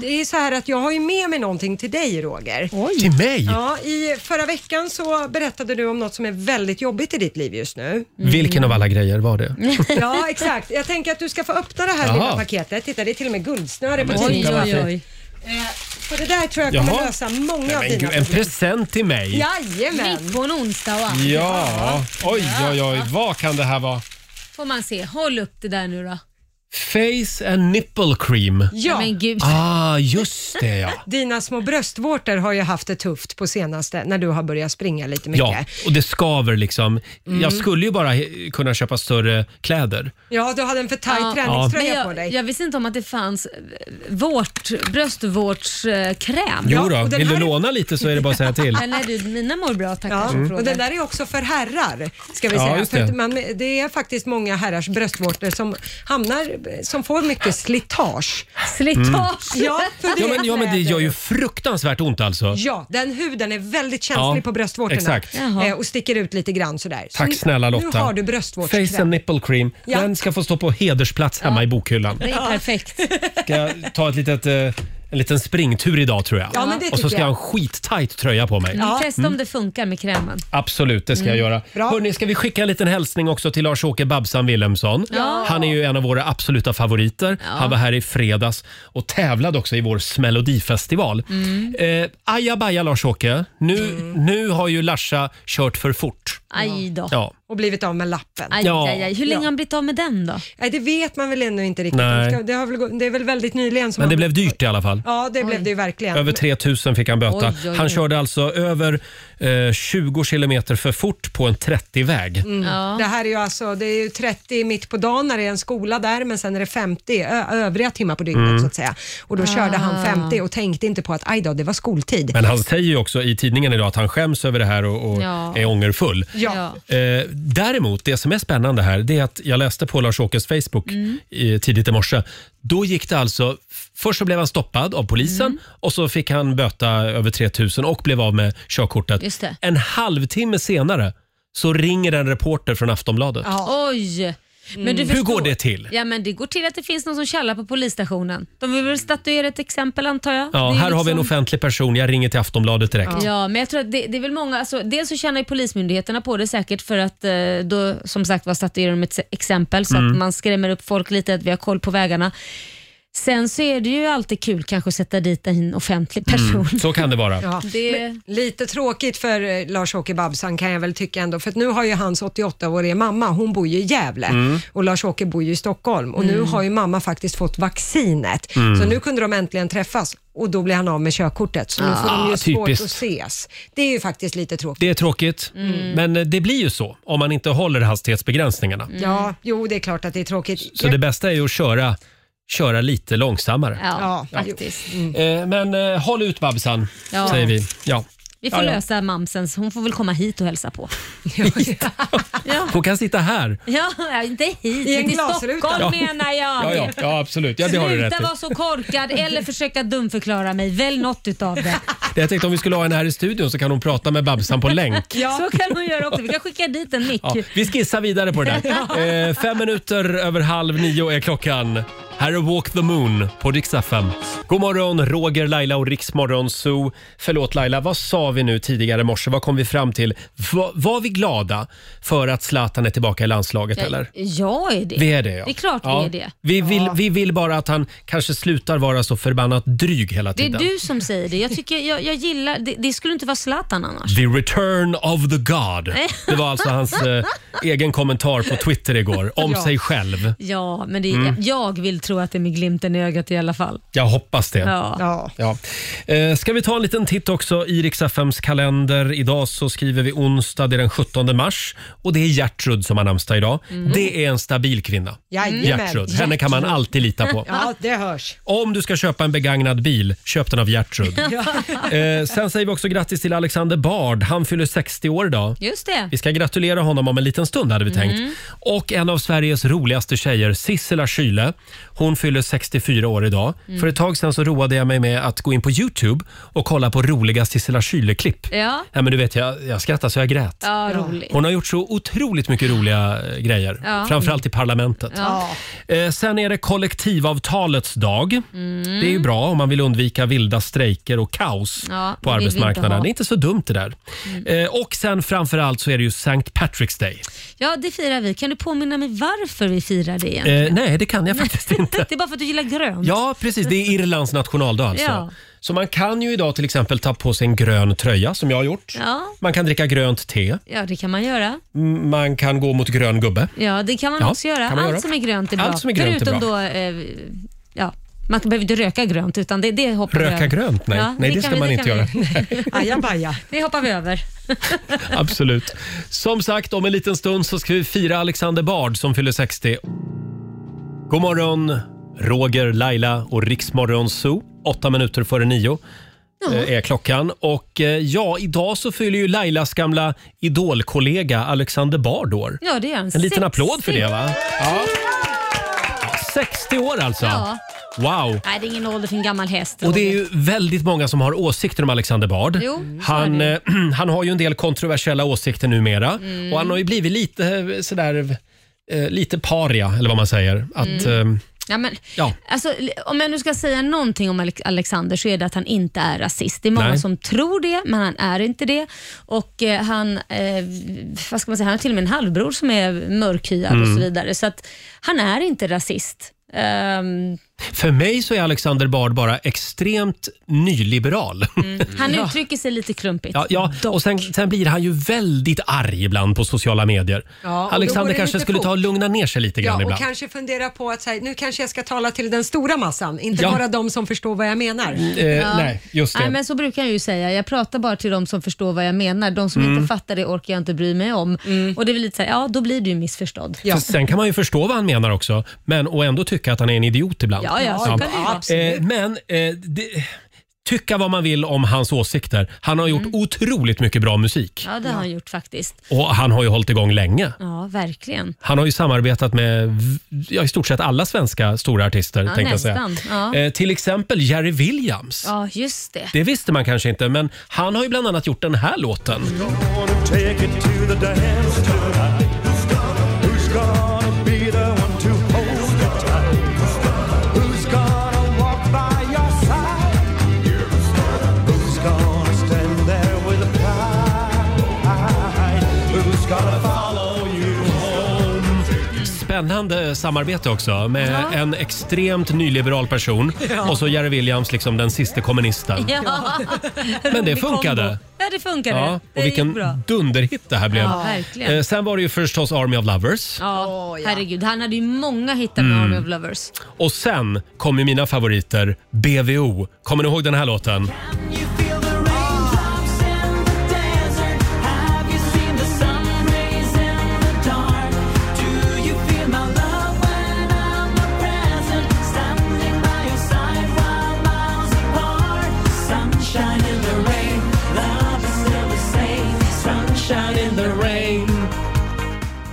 Det är så här att jag har ju med mig någonting till dig Roger.
Till mig?
Ja, i förra veckan så berättade du om något som är väldigt jobbigt i ditt liv
[laughs]
just nu.
Vilken av alla grejer var det?
Mm.
Ja, exakt. Jag tänker att du ska få öppna det här
Jaha.
lilla paketet. Titta, det är till och med guldsnöre på
men titta
tidningen.
vad Oj, oj, oj.
Så det där tror jag kommer
Jaha.
lösa många
Nej,
av
men
dina
gud, en present till mig.
Jajamän.
Mitt på en onsdag och allt.
Ja, oj, oj, oj. Vad kan det här vara?
Får man se. Håll upp det där nu då.
Face and nipple cream.
Ja.
Men gud.
Ah, just det ja.
Dina små bröstvårtor har ju haft det tufft på senaste, när du har börjat springa lite [laughs] mycket.
Ja, och det skaver liksom.
Mm.
Jag skulle ju bara he- kunna köpa större kläder.
Ja, du hade en för tajt
Ja.
träningströja
Men jag,
på dig.
Jag visste inte om att det fanns eh, vårt, bröstvårdskräm.
Jo då, vill du låna lite så är det bara att säga
[laughs]
till.
Ja, nej, du, mina mår bra tackar
Ja,
som
Mm.
och den där är också för herrar. Ska vi
Ja,
säga.
just
För att
det.
man, det är faktiskt många herrars bröstvårtor som hamnar, som får mycket slitage.
Slitage?
Ja, för det
Mm. Ja men, ja, men det gör ju fruktansvärt ont alltså.
Ja, den huden är väldigt känslig
Ja,
på bröstvårtorna
exakt. Jaha.
Eh, och sticker ut lite grann sådär. Så
Tack
nu-
snälla Lotta.
Nu har du
Face and
bröstvårtskräm.
nipple cream.
Ja.
Den ska få stå på hedersplats hemma i bokhyllan.
Det är perfekt.
Ska jag ta ett litet, eh, en liten springtur idag tror jag.
Ja, men det
Och så
tycker
ska jag ha en
jag.
skittajt tröja på mig.
Mm, Testa om det funkar med krämen.
Absolut, det ska
Mm.
jag göra. Hörrni, ska vi skicka en liten hälsning också till Lars-Åke Babsan Wilhelmsson.
Ja.
Han är ju en av våra absoluta favoriter.
Ja.
Han var här i fredags och tävlade också i vår Smelodifestival. Mm. Eh, ajabaja Lars-Åke, nu,
Mm.
nu har ju Larsa kört för fort.
Aj då.
Ja.
Och blivit av med lappen.
Aj, aj, aj. Hur länge har han blivit av med den då?
Nej, det vet man väl ännu inte riktigt.
Nej.
De ska- Det, har väl, gå- det är väl väldigt nyligen som
Men det
man-
blev dyrt i alla fall.
Ja, det blev det ju verkligen.
Över 3000 fick han böta.
Oj, oj, oj.
Han körde alltså över eh, 20 kilometer för fort på en 30-väg.
Mm. Det här är ju alltså, det är ju 30 mitt på dagen när det är en skola där, men sen är det 50 ö- övriga timmar på dygnet
Mm. Ah.
så att säga. Och då körde han 50 och tänkte inte på att aj då, det var skoltid.
Men han säger ju också i tidningen idag att han skäms över det här och, och
Ja.
är ångerfull.
Ja.
Eh, däremot, det som är spännande här, det är att jag läste på Lars-Åkes Facebook
Mm.
i, tidigt i morse. Då gick det alltså, först så blev han stoppad av polisen
Mm.
och så fick han böta över 3000 och blev av med körkortet.
Just det.
En halvtimme senare så ringer en reporter från Aftonbladet.
Oj! Men
Mm.
du
Hur
förstår-
går det till?
Ja, men det går till att det finns någon som tjallar på polisstationen. De vill väl statuera ett exempel antar jag.
Ja,
Det är
här har vi en
liksom-
offentlig person, jag ringer till Aftonbladet direkt.
Ja, men jag tror att det, det är väl många, alltså, dels så tjänar ju polismyndigheterna på det säkert för att eh, då som sagt var statuerar de ett se- exempel så
Mm.
att man skrämmer upp folk lite att vi har koll på vägarna. Sen så är det ju alltid kul kanske att sätta dit en offentlig person.
[laughs] Mm, så kan det vara.
Ja, men Lite tråkigt för eh, Lars-Åke Babsan kan jag väl tycka ändå, för att nu har ju hans 88-åriga mamma, hon bor ju i Gävle
Mm.
och Lars-Åke bor ju i Stockholm och nu
Mm.
har ju mamma faktiskt fått vaccinet.
Mm.
Så nu kunde de äntligen träffas och då blir han av med körkortet, så nu får de ju
Ah,
svårt
typiskt.
att ses. Det är ju faktiskt lite tråkigt.
Det är tråkigt,
Mm.
men eh, det blir ju så om man inte håller hastighetsbegränsningarna.
Mm.
Ja, jo det är klart att det är tråkigt.
Mm.
[laughs]
Så det bästa är ju att köra, köra lite långsammare.
Ja, faktiskt.
Eh, Men eh, håll ut Babsan,
Ja.
säger vi. Ja.
Vi får
ja, ja.
lösa mamsens. Hon får väl komma hit och
[laughs]
hälsa på.
Hon kan sitta här.
Ja, ja, inte hit,
I en
men till
glasruta.
Stockholm
Ja.
menar jag.
Ja, ja, ja absolut. Ja, det har du rätt
Sluta
i.
vara så korkad eller försöka dumförklara mig. Välj något
[laughs]
utav det.
Jag tänkte om vi skulle ha henne här i studion så kan hon prata med Babsan på länk.
Så kan hon göra också. Vi kan skicka dit en mick.
Ja, vi skissar vidare på det
[laughs]
där. Eh, fem minuter över halv nio är klockan. Här är Walk the Moon på Rix FM. God morgon, Roger, Laila och Riksmorgon Zoo. Förlåt Laila, vad sa vi nu tidigare i morse? Vad kom vi fram till? Va, var vi glada för att Zlatan är tillbaka i landslaget eller?
Jag är det.
Vi är det ja.
Det är klart
Ja.
vi är det.
Vi vill, vi vill bara att han kanske slutar vara så förbannat dryg hela
Det är
tiden.
du som säger det. Jag, tycker, jag, jag gillar, det, det skulle inte vara Zlatan annars.
The return of the God.
Nej.
Det var alltså hans eh, egen kommentar på Twitter igår om
Ja.
sig själv.
Ja, men det,
Mm.
jag vill tro att det är med glimten i ögat i alla fall.
Jag hoppas det.
Ja.
Ja.
Eh, ska vi ta en liten titt också i Riks-FMs kalender. Idag så skriver vi onsdag, det är den 17 mars. Och det är Gertrud som har namnsdag idag.
Mm.
Det är en stabil kvinna.
Mm.
Jajamän.
Mm. Gertrud. Henne kan man
Gertrud.
alltid lita
[laughs]
på.
Ja, det hörs.
Om du ska köpa en begagnad bil, köp den av
[laughs]
Gertrud. Eh, sen säger vi också grattis till Alexander Bard. Han fyller 60 år idag.
Just det.
Vi ska gratulera honom om en liten stund hade vi
Mm.
tänkt. Och en av Sveriges roligaste tjejer, Sissela Kyle. Hon fyller 64 år idag.
Mm.
För ett tag sedan så roade jag mig med att gå in på Youtube och kolla på roliga Sissela Kyle-klipp.
Ja.
Ja, men du vet, jag, jag skrattade så jag grät.
Ja, roligt.
Hon har gjort så otroligt mycket roliga eh, grejer.
Ja.
Framförallt i parlamentet.
Ja.
Eh, sen är det kollektivavtalets dag.
Mm.
Det är ju bra om man vill undvika vilda strejker och kaos
Ja,
på
det vill vi inte
arbetsmarknaden.
ha.
Det är inte så dumt det där.
Mm.
Eh, och sen framför allt så är det ju St. Patrick's Day. Eh,
Ja, det firar vi. Kan du påminna mig varför vi firar det egentligen?
Eh, nej, det kan jag [laughs] faktiskt inte.
[laughs] Det är bara för att du gillar grönt.
Ja, precis. Det är Irlands nationaldag alltså.
Ja.
Så man kan ju idag till exempel ta på sig en grön tröja som jag har gjort.
Ja.
Man kan dricka grönt te.
ja, det kan man göra.
Mm, Man kan gå mot grön gubbe.
Ja, det kan man
Ja,
också göra.
kan man
Allt
göra.
som är grönt är bra.
Allt som är grönt är
Förutom
bra.
då, eh, ja, man behöver inte röka grönt, utan det, det hoppar vi
Röka
över.
grönt? Nej,
Ja,
nej det,
kan
ska
vi-
man
det
inte
kan
göra.
vi-
[laughs]
Ajabaja.
[laughs] Det hoppar vi över.
Absolut. Som sagt, om en liten stund så ska vi fira Alexander Bard som fyller 60. God morgon, Roger, Laila och Riksmorgon Zoo. Åtta minuter före nio
Ja.
eh, är klockan. Och eh, ja, idag så fyller ju Lailas gamla idolkollega Alexander Bard år.
Ja, det gör han.
En liten applåd för
60.
det va? Ja. 60 år alltså!
Ja.
Wow!
Nej, det är ingen ålder för en gammal häst.
Och det är ju väldigt många som har åsikter om Alexander Bard.
Jo, Mm. så
han,
är
eh, [clears throat] han har ju en del kontroversiella åsikter numera
Mm.
och han har ju blivit lite eh, sådär eh, lite paria eller vad man säger. Att,
Mm.
eh,
Ja, men,
ja.
alltså, om jag nu ska säga någonting om Alex- Alexander så är det att han inte är rasist. Det är många
Nej.
som tror det, men han är inte det. Och eh, Han eh, vad ska man säga, han har till och med en halvbror som är mörkhyad och
Mm.
så vidare. Så att han är inte rasist. Ehm,
För mig så är Alexander Bard bara extremt nyliberal.
Mm.
han
Ja.
uttrycker sig lite klumpigt.
[laughs] Ja, ja. och sen, sen blir han ju väldigt arg ibland på sociala medier.
Ja, och då går
Alexander
det
kanske
lite
skulle
fort.
ta och lugna ner sig lite grann
Ja, och
ibland.
kanske fundera på att så här, nu kanske jag ska tala till den stora massan, inte
Ja.
bara de som förstår vad jag menar.
eh, nej, just det.
Nej, men så brukar jag ju säga. Jag pratar bara till de som förstår vad jag menar. De som
Mm.
inte fattar det orkar jag inte bry mig om. Och det är väl lite så här, ja då blir du ju missförstådd.
För Sen kan man ju förstå vad han menar också, men och ändå tycka att han är en idiot ibland.
Ja, ja, så kan det ju vara. Absolut.
Eh, men eh, det, tycka vad man vill om hans åsikter. Han har gjort
Mm.
otroligt mycket bra musik
Ja, det har han gjort faktiskt.
och han har ju hållit igång länge.
Ja, verkligen.
Han har ju samarbetat med v- ja, i stort sett alla svenska stora artister.
Ja,
tänkte jag säga.
nästan. Ja.
Eh, till exempel Jerry Williams.
Ja, just det.
Det visste man kanske inte, men han har ju bland annat gjort den här låten.
Take it to the dance tonight. Who's gonna be the one to hold you tight? Who's gonna walk by your side? Who's gonna stand there with a pride? Who's gonna follow you home?
spännande samarbete också med
Ja.
en extremt nyliberal person
[laughs] Ja.
och så Jerry Williams, liksom den siste kommunisten.
[laughs] Ja.
Men det
Rolig kombo.
funkade.
Ja, det funkade.
Ja,
det
och vilken
gick bra.
dunderhit det här blev.
Ja, verkligen.
Eh, Sen var det ju förstås Army of Lovers.
Ja, herregud. Han hade ju många hittar med
Mm.
Army of Lovers.
Och sen kom ju mina favoriter, BVO. Kommer ni ihåg den här låten?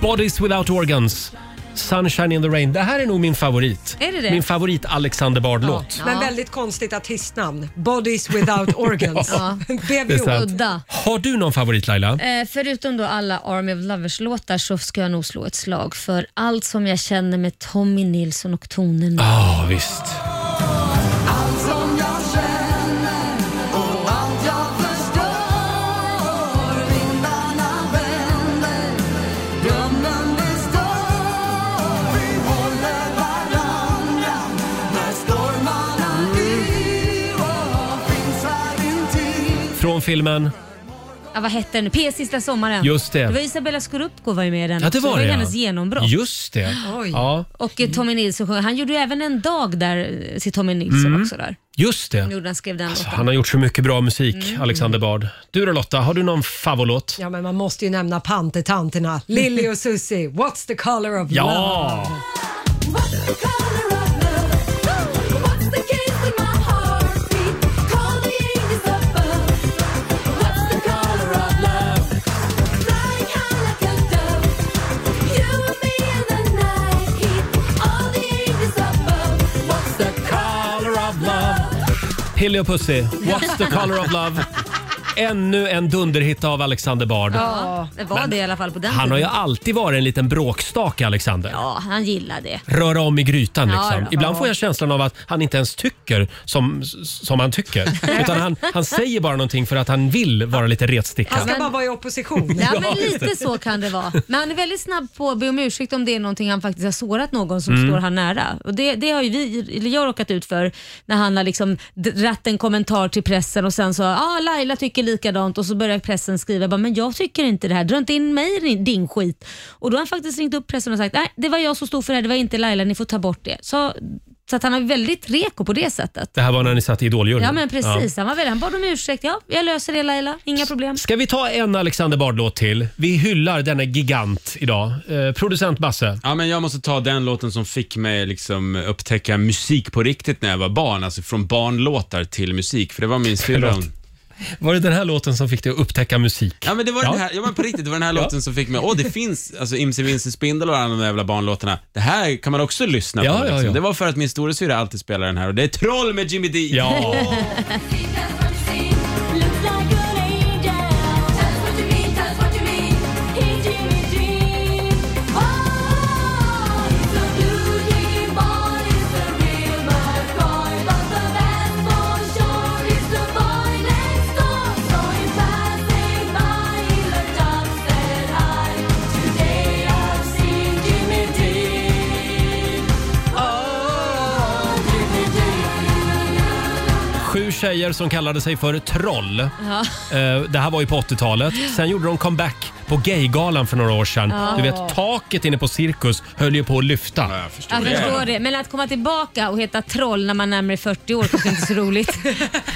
Bodies Without Organs, Sunshine in the Rain. Det här är nog min favorit.
Är det det?
Min favorit Alexander Bard-låt.
Men väldigt konstigt artistnamn.
[laughs]
Bodies without organs.
Ja.
Det är sant.
BVO.
Har du någon favorit Laila?
Eh, förutom då alla Army of Lovers-låtar så ska jag nog slå ett slag för Allt som jag känner med Tommy Nilsson och tonen.
Ja, visst.
Allt som jag känner och allt jag förstår Vindarna vänder, drömmen består Vi håller varandra när stormarna yr och finns här intill
Från filmen?
Ja, vad hette den nu? P sista sommaren.
Just det.
det var Isabella Scorupco var ju med i den
Ja, det
också.
var
det.
det.
var
ja.
hennes genombrott.
Just det.
Oj.
Ja,
Och eh, Tommy Nilsson sjöng. Han gjorde ju även en dag där, eh, till Tommy Nilsson
Mm. Alltså,
också. Där.
just det.
Gjorde han skrev den låten.
Han har gjort så mycket bra musik,
Mm.
Alexander Bard. Du då Lotta, har du någon favoritlåt?
Ja, men man måste ju nämna pantertanterna. Lilly och Susie. What's the color of
Ja!
love?
Pilli och Pussy, What's the color of love? Ännu en dunderhit av Alexander Bard.
Ja, det var det i alla fall på den
Han har ju
tiden.
alltid varit en liten bråkstake, Alexander.
Ja, han gillar det.
Röra om i grytan liksom.
Ja, då.
Ibland
Ja.
får jag känslan av att han inte ens tycker som, som han tycker.
[laughs]
Utan han, han säger bara någonting för att han vill vara lite retsticka.
Han ska bara vara i opposition.
Ja,
[laughs] Ja,
men lite
visst.
så kan det vara. Men han är väldigt snabb på att be om ursäkt om det är någonting han faktiskt har sårat någon som
Mm.
står han nära. Och det, det har ju vi, eller jag råkat ut för när han har liksom dratt en kommentar till pressen och sen så ah, Laila tycker likadant och så börjar pressen skriva bara, men jag tycker inte det här, dra inte in mig i din- din skit. Och då har han faktiskt ringt upp pressen och sagt nej det var jag som stod för det här, det var inte Laila, ni får ta bort det. Så, så att han är väldigt reko på det sättet.
Det här var när ni satt i Idoljuryn.
Ja men precis, han, var väl, han bad om ursäkt. Ja, jag löser det Laila, inga problem.
Ska vi ta en Alexander Bard-låt till? Vi hyllar denna gigant idag. Eh, producent Basse.
Ja, men jag måste ta den låten som fick mig liksom upptäcka musik på riktigt när jag var barn. Alltså från barnlåtar till musik. För det var min syrra.
Förlåt. Var det den här låten som fick dig att upptäcka musik?
Ja, men det var den här, ja, men på riktigt, det var den här
Ja.
låten som fick mig, åh det finns alltså Imse Vinse Spindel och alla de där jävla barnlåtarna. Det här kan man också lyssna
Ja,
på.
ja,
Liksom.
ja.
Det var för att min storasyrra alltid spelade den här och det är Troll med Jimmy D. [laughs]
Ja. Sju tjejer som kallade sig för troll.
Ja.
Eh, Det här var ju på 80-talet. Sen gjorde de comeback på Gaygalan för några år sedan.
Ja.
Du vet, taket inne på Cirkus höll ju på att lyfta. jag förstår
Jag förstår det, men att komma tillbaka och heta troll när man närmar 40 år kanske inte är
[laughs]
så roligt. Det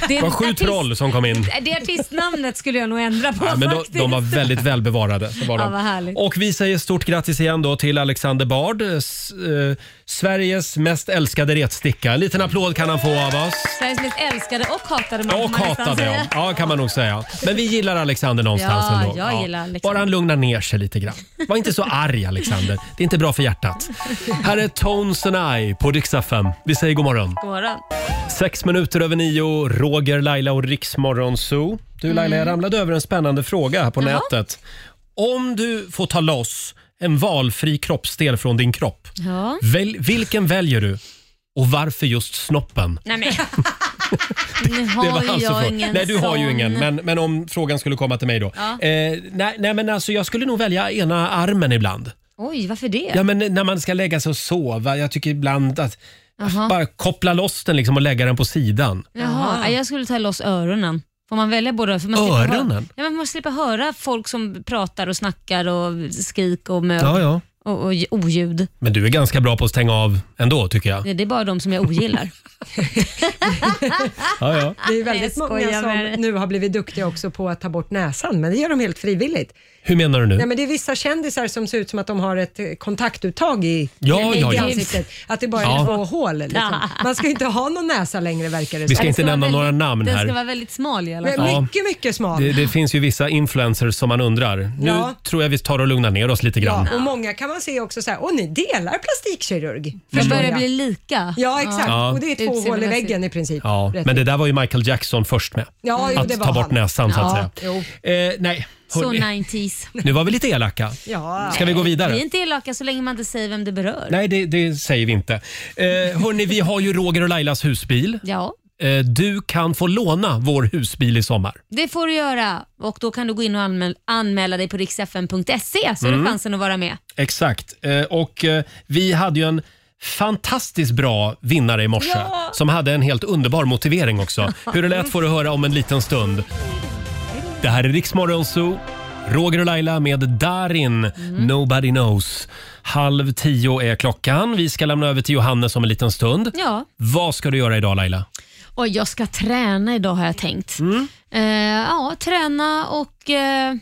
Det var sju troll som kom in.
Det artistnamnet skulle jag nog ändra på
Ja, men de,
faktiskt.
de var väldigt välbevarade. Så var
Ja, vad
de.
härligt.
Och vi säger stort grattis igen då till Alexander Bard, s- eh, Sveriges mest älskade retsticka. En liten applåd kan han få av oss.
Sveriges mest älskade och hatade man.
Och
får man nästan
hatade
säga.
jag. Ja, kan man nog säga. Men vi gillar Alexander någonstans
Ja,
ändå.
jag gillar Alexander.
Bara han lugnar ner sig lite grann. Var inte så arg Alexander. Det är inte bra för hjärtat. Här är Tones and I på Dixtaf Vi säger god morgon.
God morgon.
Sex minuter över nio, Roger, Laila och Riksmorgon Zoo. Du Laila, jag ramlade över en spännande fråga här på
Mm. Jaha.
nätet. Om du får ta loss en valfri kroppsdel från din kropp,
Ja.
väl, vilken väljer du? Och varför just snoppen?
Nej [laughs] men. Nu
Det var
har
alltså
jag
frågan.
ingen
Nej, du har ju
sån.
ingen, men, men om frågan skulle komma till mig då.
Ja.
Eh, nej, nej, men alltså jag skulle nog välja ena armen ibland.
Oj, varför det?
Ja, men när man ska lägga sig och sova. Jag tycker ibland att
Jaha.
bara koppla loss den liksom och lägga den på sidan.
Jaha, nej, jag skulle ta loss öronen. Får man välja båda? För man slipper
Öronen?
Höra, ja, men man slipper höra folk som pratar och snackar och skrik och mög
Ja, ja.
Och, och oljud.
Men du är ganska bra på att stänga av ändå tycker jag.
Det är bara de som jag ogillar.
Ja, ja.
Det är väldigt
Jag
många
skojar med
som nu har blivit duktiga också på att ta bort näsan, men det gör de helt frivilligt.
Hur menar du nu?
Nej, men det är vissa kändisar som ser ut som att de har ett eh, kontaktuttag i,
Ja,
i
ja, ja.
ansiktet. Att det bara är
Ja.
två hål. Liksom. Man ska inte ha någon näsa längre verkar det
Vi [laughs] ska
som.
inte Den ska nämna vara några väldigt- namn den här. ska vara
väldigt smal i alla
Men
fall. Ja.
Mycket, mycket smal.
Det, det finns ju vissa influencers som man undrar. Nu
Ja.
tror jag vi tar och lugnar ner oss lite grann.
Ja, och många kan man se också så här, och ni delar plastikkirurg.
De
förstår
börjar
jag.
bli lika.
Ja, exakt.
Ja.
Och det är två hål i
Utseendemässigt.
väggen i princip.
Ja,
Rätt
men det där var ju Michael Jackson först med.
Ja, jo,
att
det var
ta bort
han.
näsan så att
Ja,
säga. Eh, nej,
Så
hörni.
90s.
Nu var vi lite elaka.
Ja.
Ska vi gå vidare?
Vi är inte elaka så länge man inte säger vem det berör.
Nej, det, det säger vi inte. Eh, hörni, vi har ju Roger och Lailas husbil.
Ja,
Eh, du kan få låna vår husbil i sommar.
det får du göra och då kan du gå in och anmäl- anmäla dig på riksfn.se så har
Mm.
du chansen att vara med.
Exakt. Eh, och eh, vi hade ju en fantastiskt bra vinnare i morse
Ja.
som hade en helt underbar motivering också.
[laughs]
Hur det lät får du höra om en liten stund. Det här är Riksmorgon Zoo. Roger och Laila med Darin,
Mm.
Nobody Knows. Halv tio är klockan. Vi ska lämna över till Johannes om en liten stund.
Ja.
Vad ska du göra idag Laila? [laughs]
Och jag ska träna idag har jag tänkt.
Mm.
Eh, ja, träna och eh,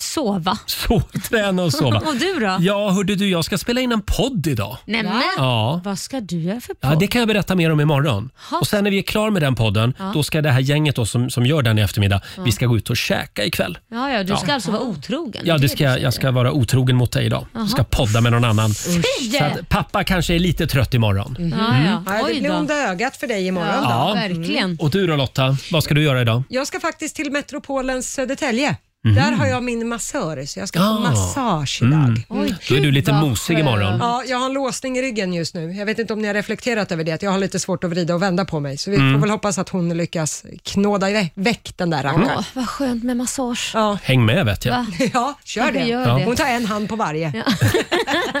sova.
Så, träna och sova.
[laughs] Och du då?
Ja, hörde du, jag ska spela in en podd idag.
Nämen,
Ja.
vad ska du göra för
Ja,
podd?
det kan jag berätta mer om imorgon.
Ha.
Och sen när vi är klara med den podden,
Ja.
då ska det här gänget då som, som gör den i eftermiddag,
Ja.
vi ska gå ut och käka ikväll.
Ja, ja, du ska
Ja.
alltså vara otrogen?
Ja, det ska, jag- jag ska vara otrogen mot dig idag.
Jaha.
Jag ska podda med någon annan.
Fy!
Så att pappa kanske är lite trött imorgon.
Ja,
Mm.
ja. det blir onda ögat för dig imorgon. då.
Ja. Mm. Och du då Lotta, vad ska du göra idag?
Jag ska faktiskt till Metropolens Södertälje.
Mhm.
Där har jag min massör, så jag ska
Ah.
få massage
Mm.
idag.
Oj, Då är du lite gud, vad mosig imorgon. skönt.
Ja, jag har en låsning i ryggen just nu. Jag vet inte om ni har reflekterat över det, att jag har lite svårt att vrida och vända på mig. Så vi
Mm.
får väl hoppas att hon lyckas knåda i- väck den där
Mm.
rackaren.
Åh, vad skönt med massage.
Ja.
Häng med vet jag.
Va?
[laughs] Ja,
Ja,
kör
vi
det.
gör det.
Hon tar en hand på varje. Ja,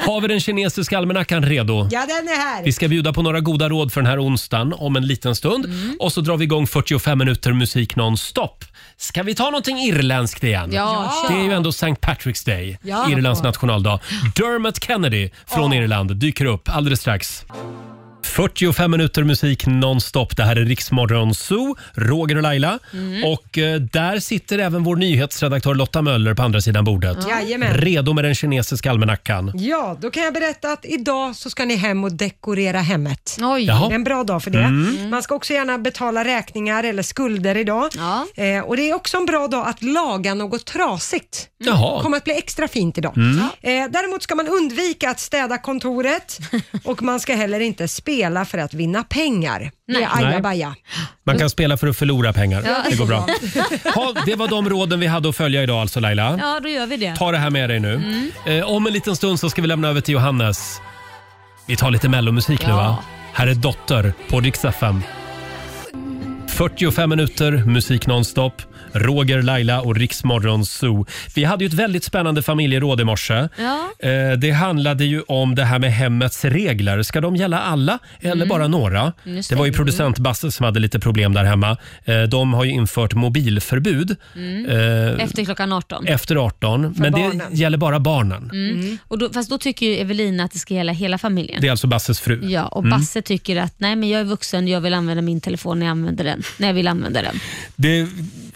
Har vi den kinesiska almanackan redo?
den är här.
Vi ska bjuda på några goda råd för den här onsdagen om en liten stund.
Mm.
Och så drar vi igång 45 minuter musik nonstop. Ska vi ta någonting irländskt igen?
Ja,
det
kör.
är ju ändå St. Patrick's Day,
Ja.
Irlands nationaldag. Dermot Kennedy från Irland dyker upp alldeles strax. 45 minuter musik nonstop. Det här är Riksmorgon Zoo, Roger och Laila.
Mm.
Och eh, där sitter även vår nyhetsredaktör Lotta Möller på andra sidan bordet.
Ja. Jajamän.
Redo med den kinesiska
Mm.
almanackan.
Ja, då kan jag berätta att idag så ska ni hem och dekorera hemmet.
Oj.
Jaha.
Det är en bra dag för det.
Mm.
Man ska också gärna betala räkningar eller skulder idag. Eh, och Det är också en bra dag att laga något trasigt.
Jaha.
kommer att bli extra fint idag.
Mm.
Eh, däremot ska man undvika att städa kontoret och man ska heller inte spela för att vinna pengar. Det
Nej.
är ajabaja.
Man kan spela för att förlora pengar.
Ja,
det går bra. Ha, det var de råden vi hade att följa idag alltså Laila.
Ja, då gör vi det.
Ta det här med dig nu.
Mm.
Eh, om en liten stund så ska vi lämna över till Johannes. Vi tar lite mellomusik nu
Ja.
va? Här är Dotter på Rix FM. 45 minuter musik nonstop. Roger, Laila och Riksmorgon Zoo. Vi hade ju ett väldigt spännande familjeråd i morse.
Ja.
Eh, Det handlade ju om det här med hemmets regler. Ska de gälla alla eller
Mm.
bara några?
Just
Det var ju
det.
producent Basse som hade lite problem där hemma. Eh, De har ju infört mobilförbud
Mm.
eh,
Efter klockan 18.
efter 18,
För
men
barnen.
det gäller bara barnen.
Mm. Och då, fast då tycker ju Evelina att det ska gälla hela familjen.
Det är alltså Basses fru.
Ja, och
Mm.
Basse tycker att nej men jag är vuxen, jag vill använda min telefon när jag, använder den, när jag vill använda den.
Det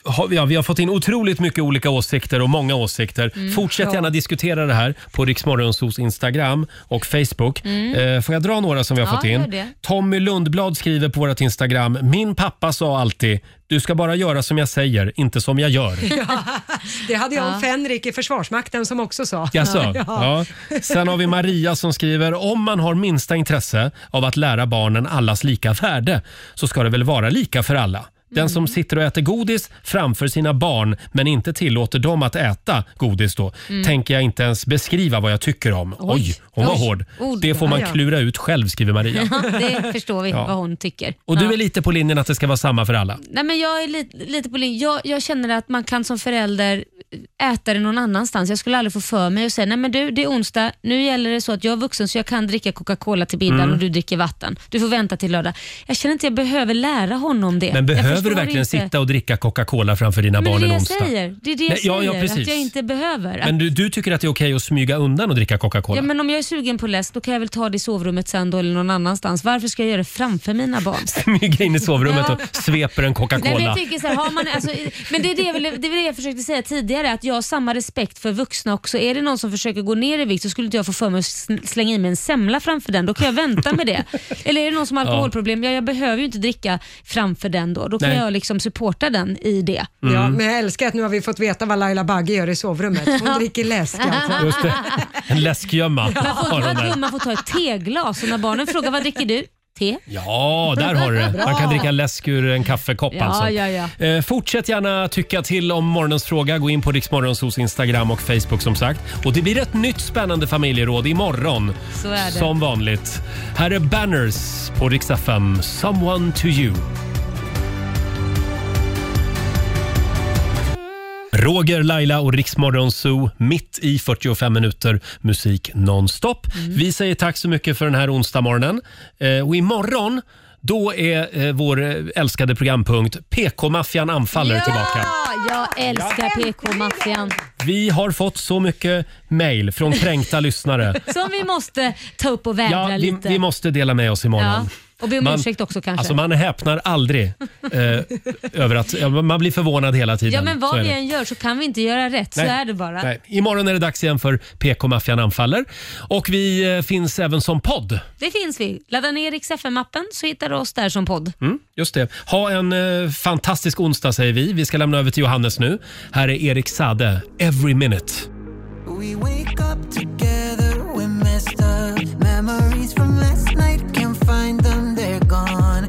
har, ja, vi har fått in otroligt mycket olika åsikter och många åsikter.
Mm.
Fortsätt
Ja.
gärna diskutera det här på Riksmorgonsos Instagram och Facebook.
Mm.
Eh, får jag dra några som vi har
Ja,
fått
gör
in?
det.
Tommy Lundblad skriver på vårt Instagram. Min pappa sa alltid du ska bara göra som jag säger, inte som jag gör.
Det hade jag om
Ja.
Fänrik i Försvarsmakten som också sa. [laughs]
Jaså? Ja. Sen har vi Maria som skriver om man har minsta intresse av att lära barnen allas lika värde så ska det väl vara lika för alla. Den
Mm.
som sitter och äter godis framför sina barn men inte tillåter dem att äta godis då
Mm.
tänker jag inte ens beskriva vad jag tycker om. Oj, hon var
Oj.
hård.
Ord.
Det får man
Ja, ja.
klura ut själv skriver
[laughs]
Maria.
det förstår vi
Ja.
vad hon tycker.
Och
Ja.
du är lite på linjen att det ska vara samma för alla.
Nej, men jag är lite, lite på linje. Jag, jag känner att man kan som förälder äta det någon annanstans. Jag skulle aldrig få för mig att säga, nej men du, det är onsdag, nu gäller det så att jag är vuxen så jag kan dricka Coca-Cola till middagen
Mm.
och du dricker vatten. Du får vänta till lördag. Jag känner inte jag behöver lära honom det.
Men
jag
behöver
förstår
du verkligen
inte.
sitta och dricka Coca-Cola framför dina
Men det är
barn
det
en
jag
onsdag?
säger. Det är det jag
Nej, ja, ja,
säger, att
precis.
jag inte behöver. Att-
Men du, du tycker att det är okej att smyga undan och dricka Coca-Cola?
Ja, men om jag är sugen på läsk, då kan jag väl ta det i sovrummet sen då, eller någon annanstans. Varför ska jag göra det framför mina barn?
Smyga in i sovrummet
[laughs] Ja.
och sveper en
Nej, men,
Coca-Cola.
jag tycker så här, har man, alltså, i- men det är det, jag, ville- det är det jag försökte säga tidigare, att jag har samma respekt för vuxna också. Är det någon som försöker gå ner i vikt så skulle inte jag få för mig att sn- slänga i mig en semla framför den. Då kan jag vänta
[laughs]
med det. Eller är det någon som har
Ja.
alkoholproblem, ja, jag behöver ju inte dricka framför den då. Då kan
Nej.
jag liksom supporta den i det.
Ja,
Mm.
men jag älskar att nu har vi fått veta vad Laila Bagge gör i sovrummet. Hon dricker läsk alltså.
Just det. En
[laughs]
läskgömma
Man får
har
inte
hon
vara
där.
dum, man får ta ett teglas. Och när barnen frågar vad dricker du? Te?
Ja, där har du det. Man
Bra.
kan dricka läsk ur en kaffekopp
Ja,
alltså.
ja, ja.
Eh, fortsätt gärna tycka till om morgonens fråga. Gå in på Riksmorgonsos Instagram och Facebook som sagt. Och det blir ett nytt spännande familjeråd imorgon.
Så är det.
Som vanligt. Här är Banners på Rix FM. Someone to you. Roger, Laila och Riksmorgon Zoo mitt i 45 minuter musik nonstop.
Mm.
Vi säger tack så mycket för den här onsdagmorgonen. Eh, och imorgon då är eh, vår älskade programpunkt PK-maffian anfaller tillbaka.
Ja, jag älskar PK-maffian.
Vi har fått så mycket mejl från
[laughs]
kränkta lyssnare.
Som vi måste ta upp och vädra
Ja, vi,
lite.
vi måste dela med oss
ja.
imorgon.
Och be om
Man-
ursäkt också kanske.
Alltså man häpnar aldrig
[laughs]
eh, över att ja, man blir förvånad hela tiden.
ja, men
Så
vad
är
vi
det.
än gör så kan vi inte göra rätt. Så är det bara.
Nej. Imorgon är det dags igen för PK-maffian anfaller. Och vi eh, finns även som podd.
Det finns vi. Ladda ner Rix FM-appen så hittar du oss där som podd.
Mm, just det. Ha en eh, fantastisk onsdag säger vi. Vi ska lämna över till Johannes nu. Här är Erik Sade, Every Minute.
We wake up together, we're messed up. Memories from last night, can't find them, they're gone.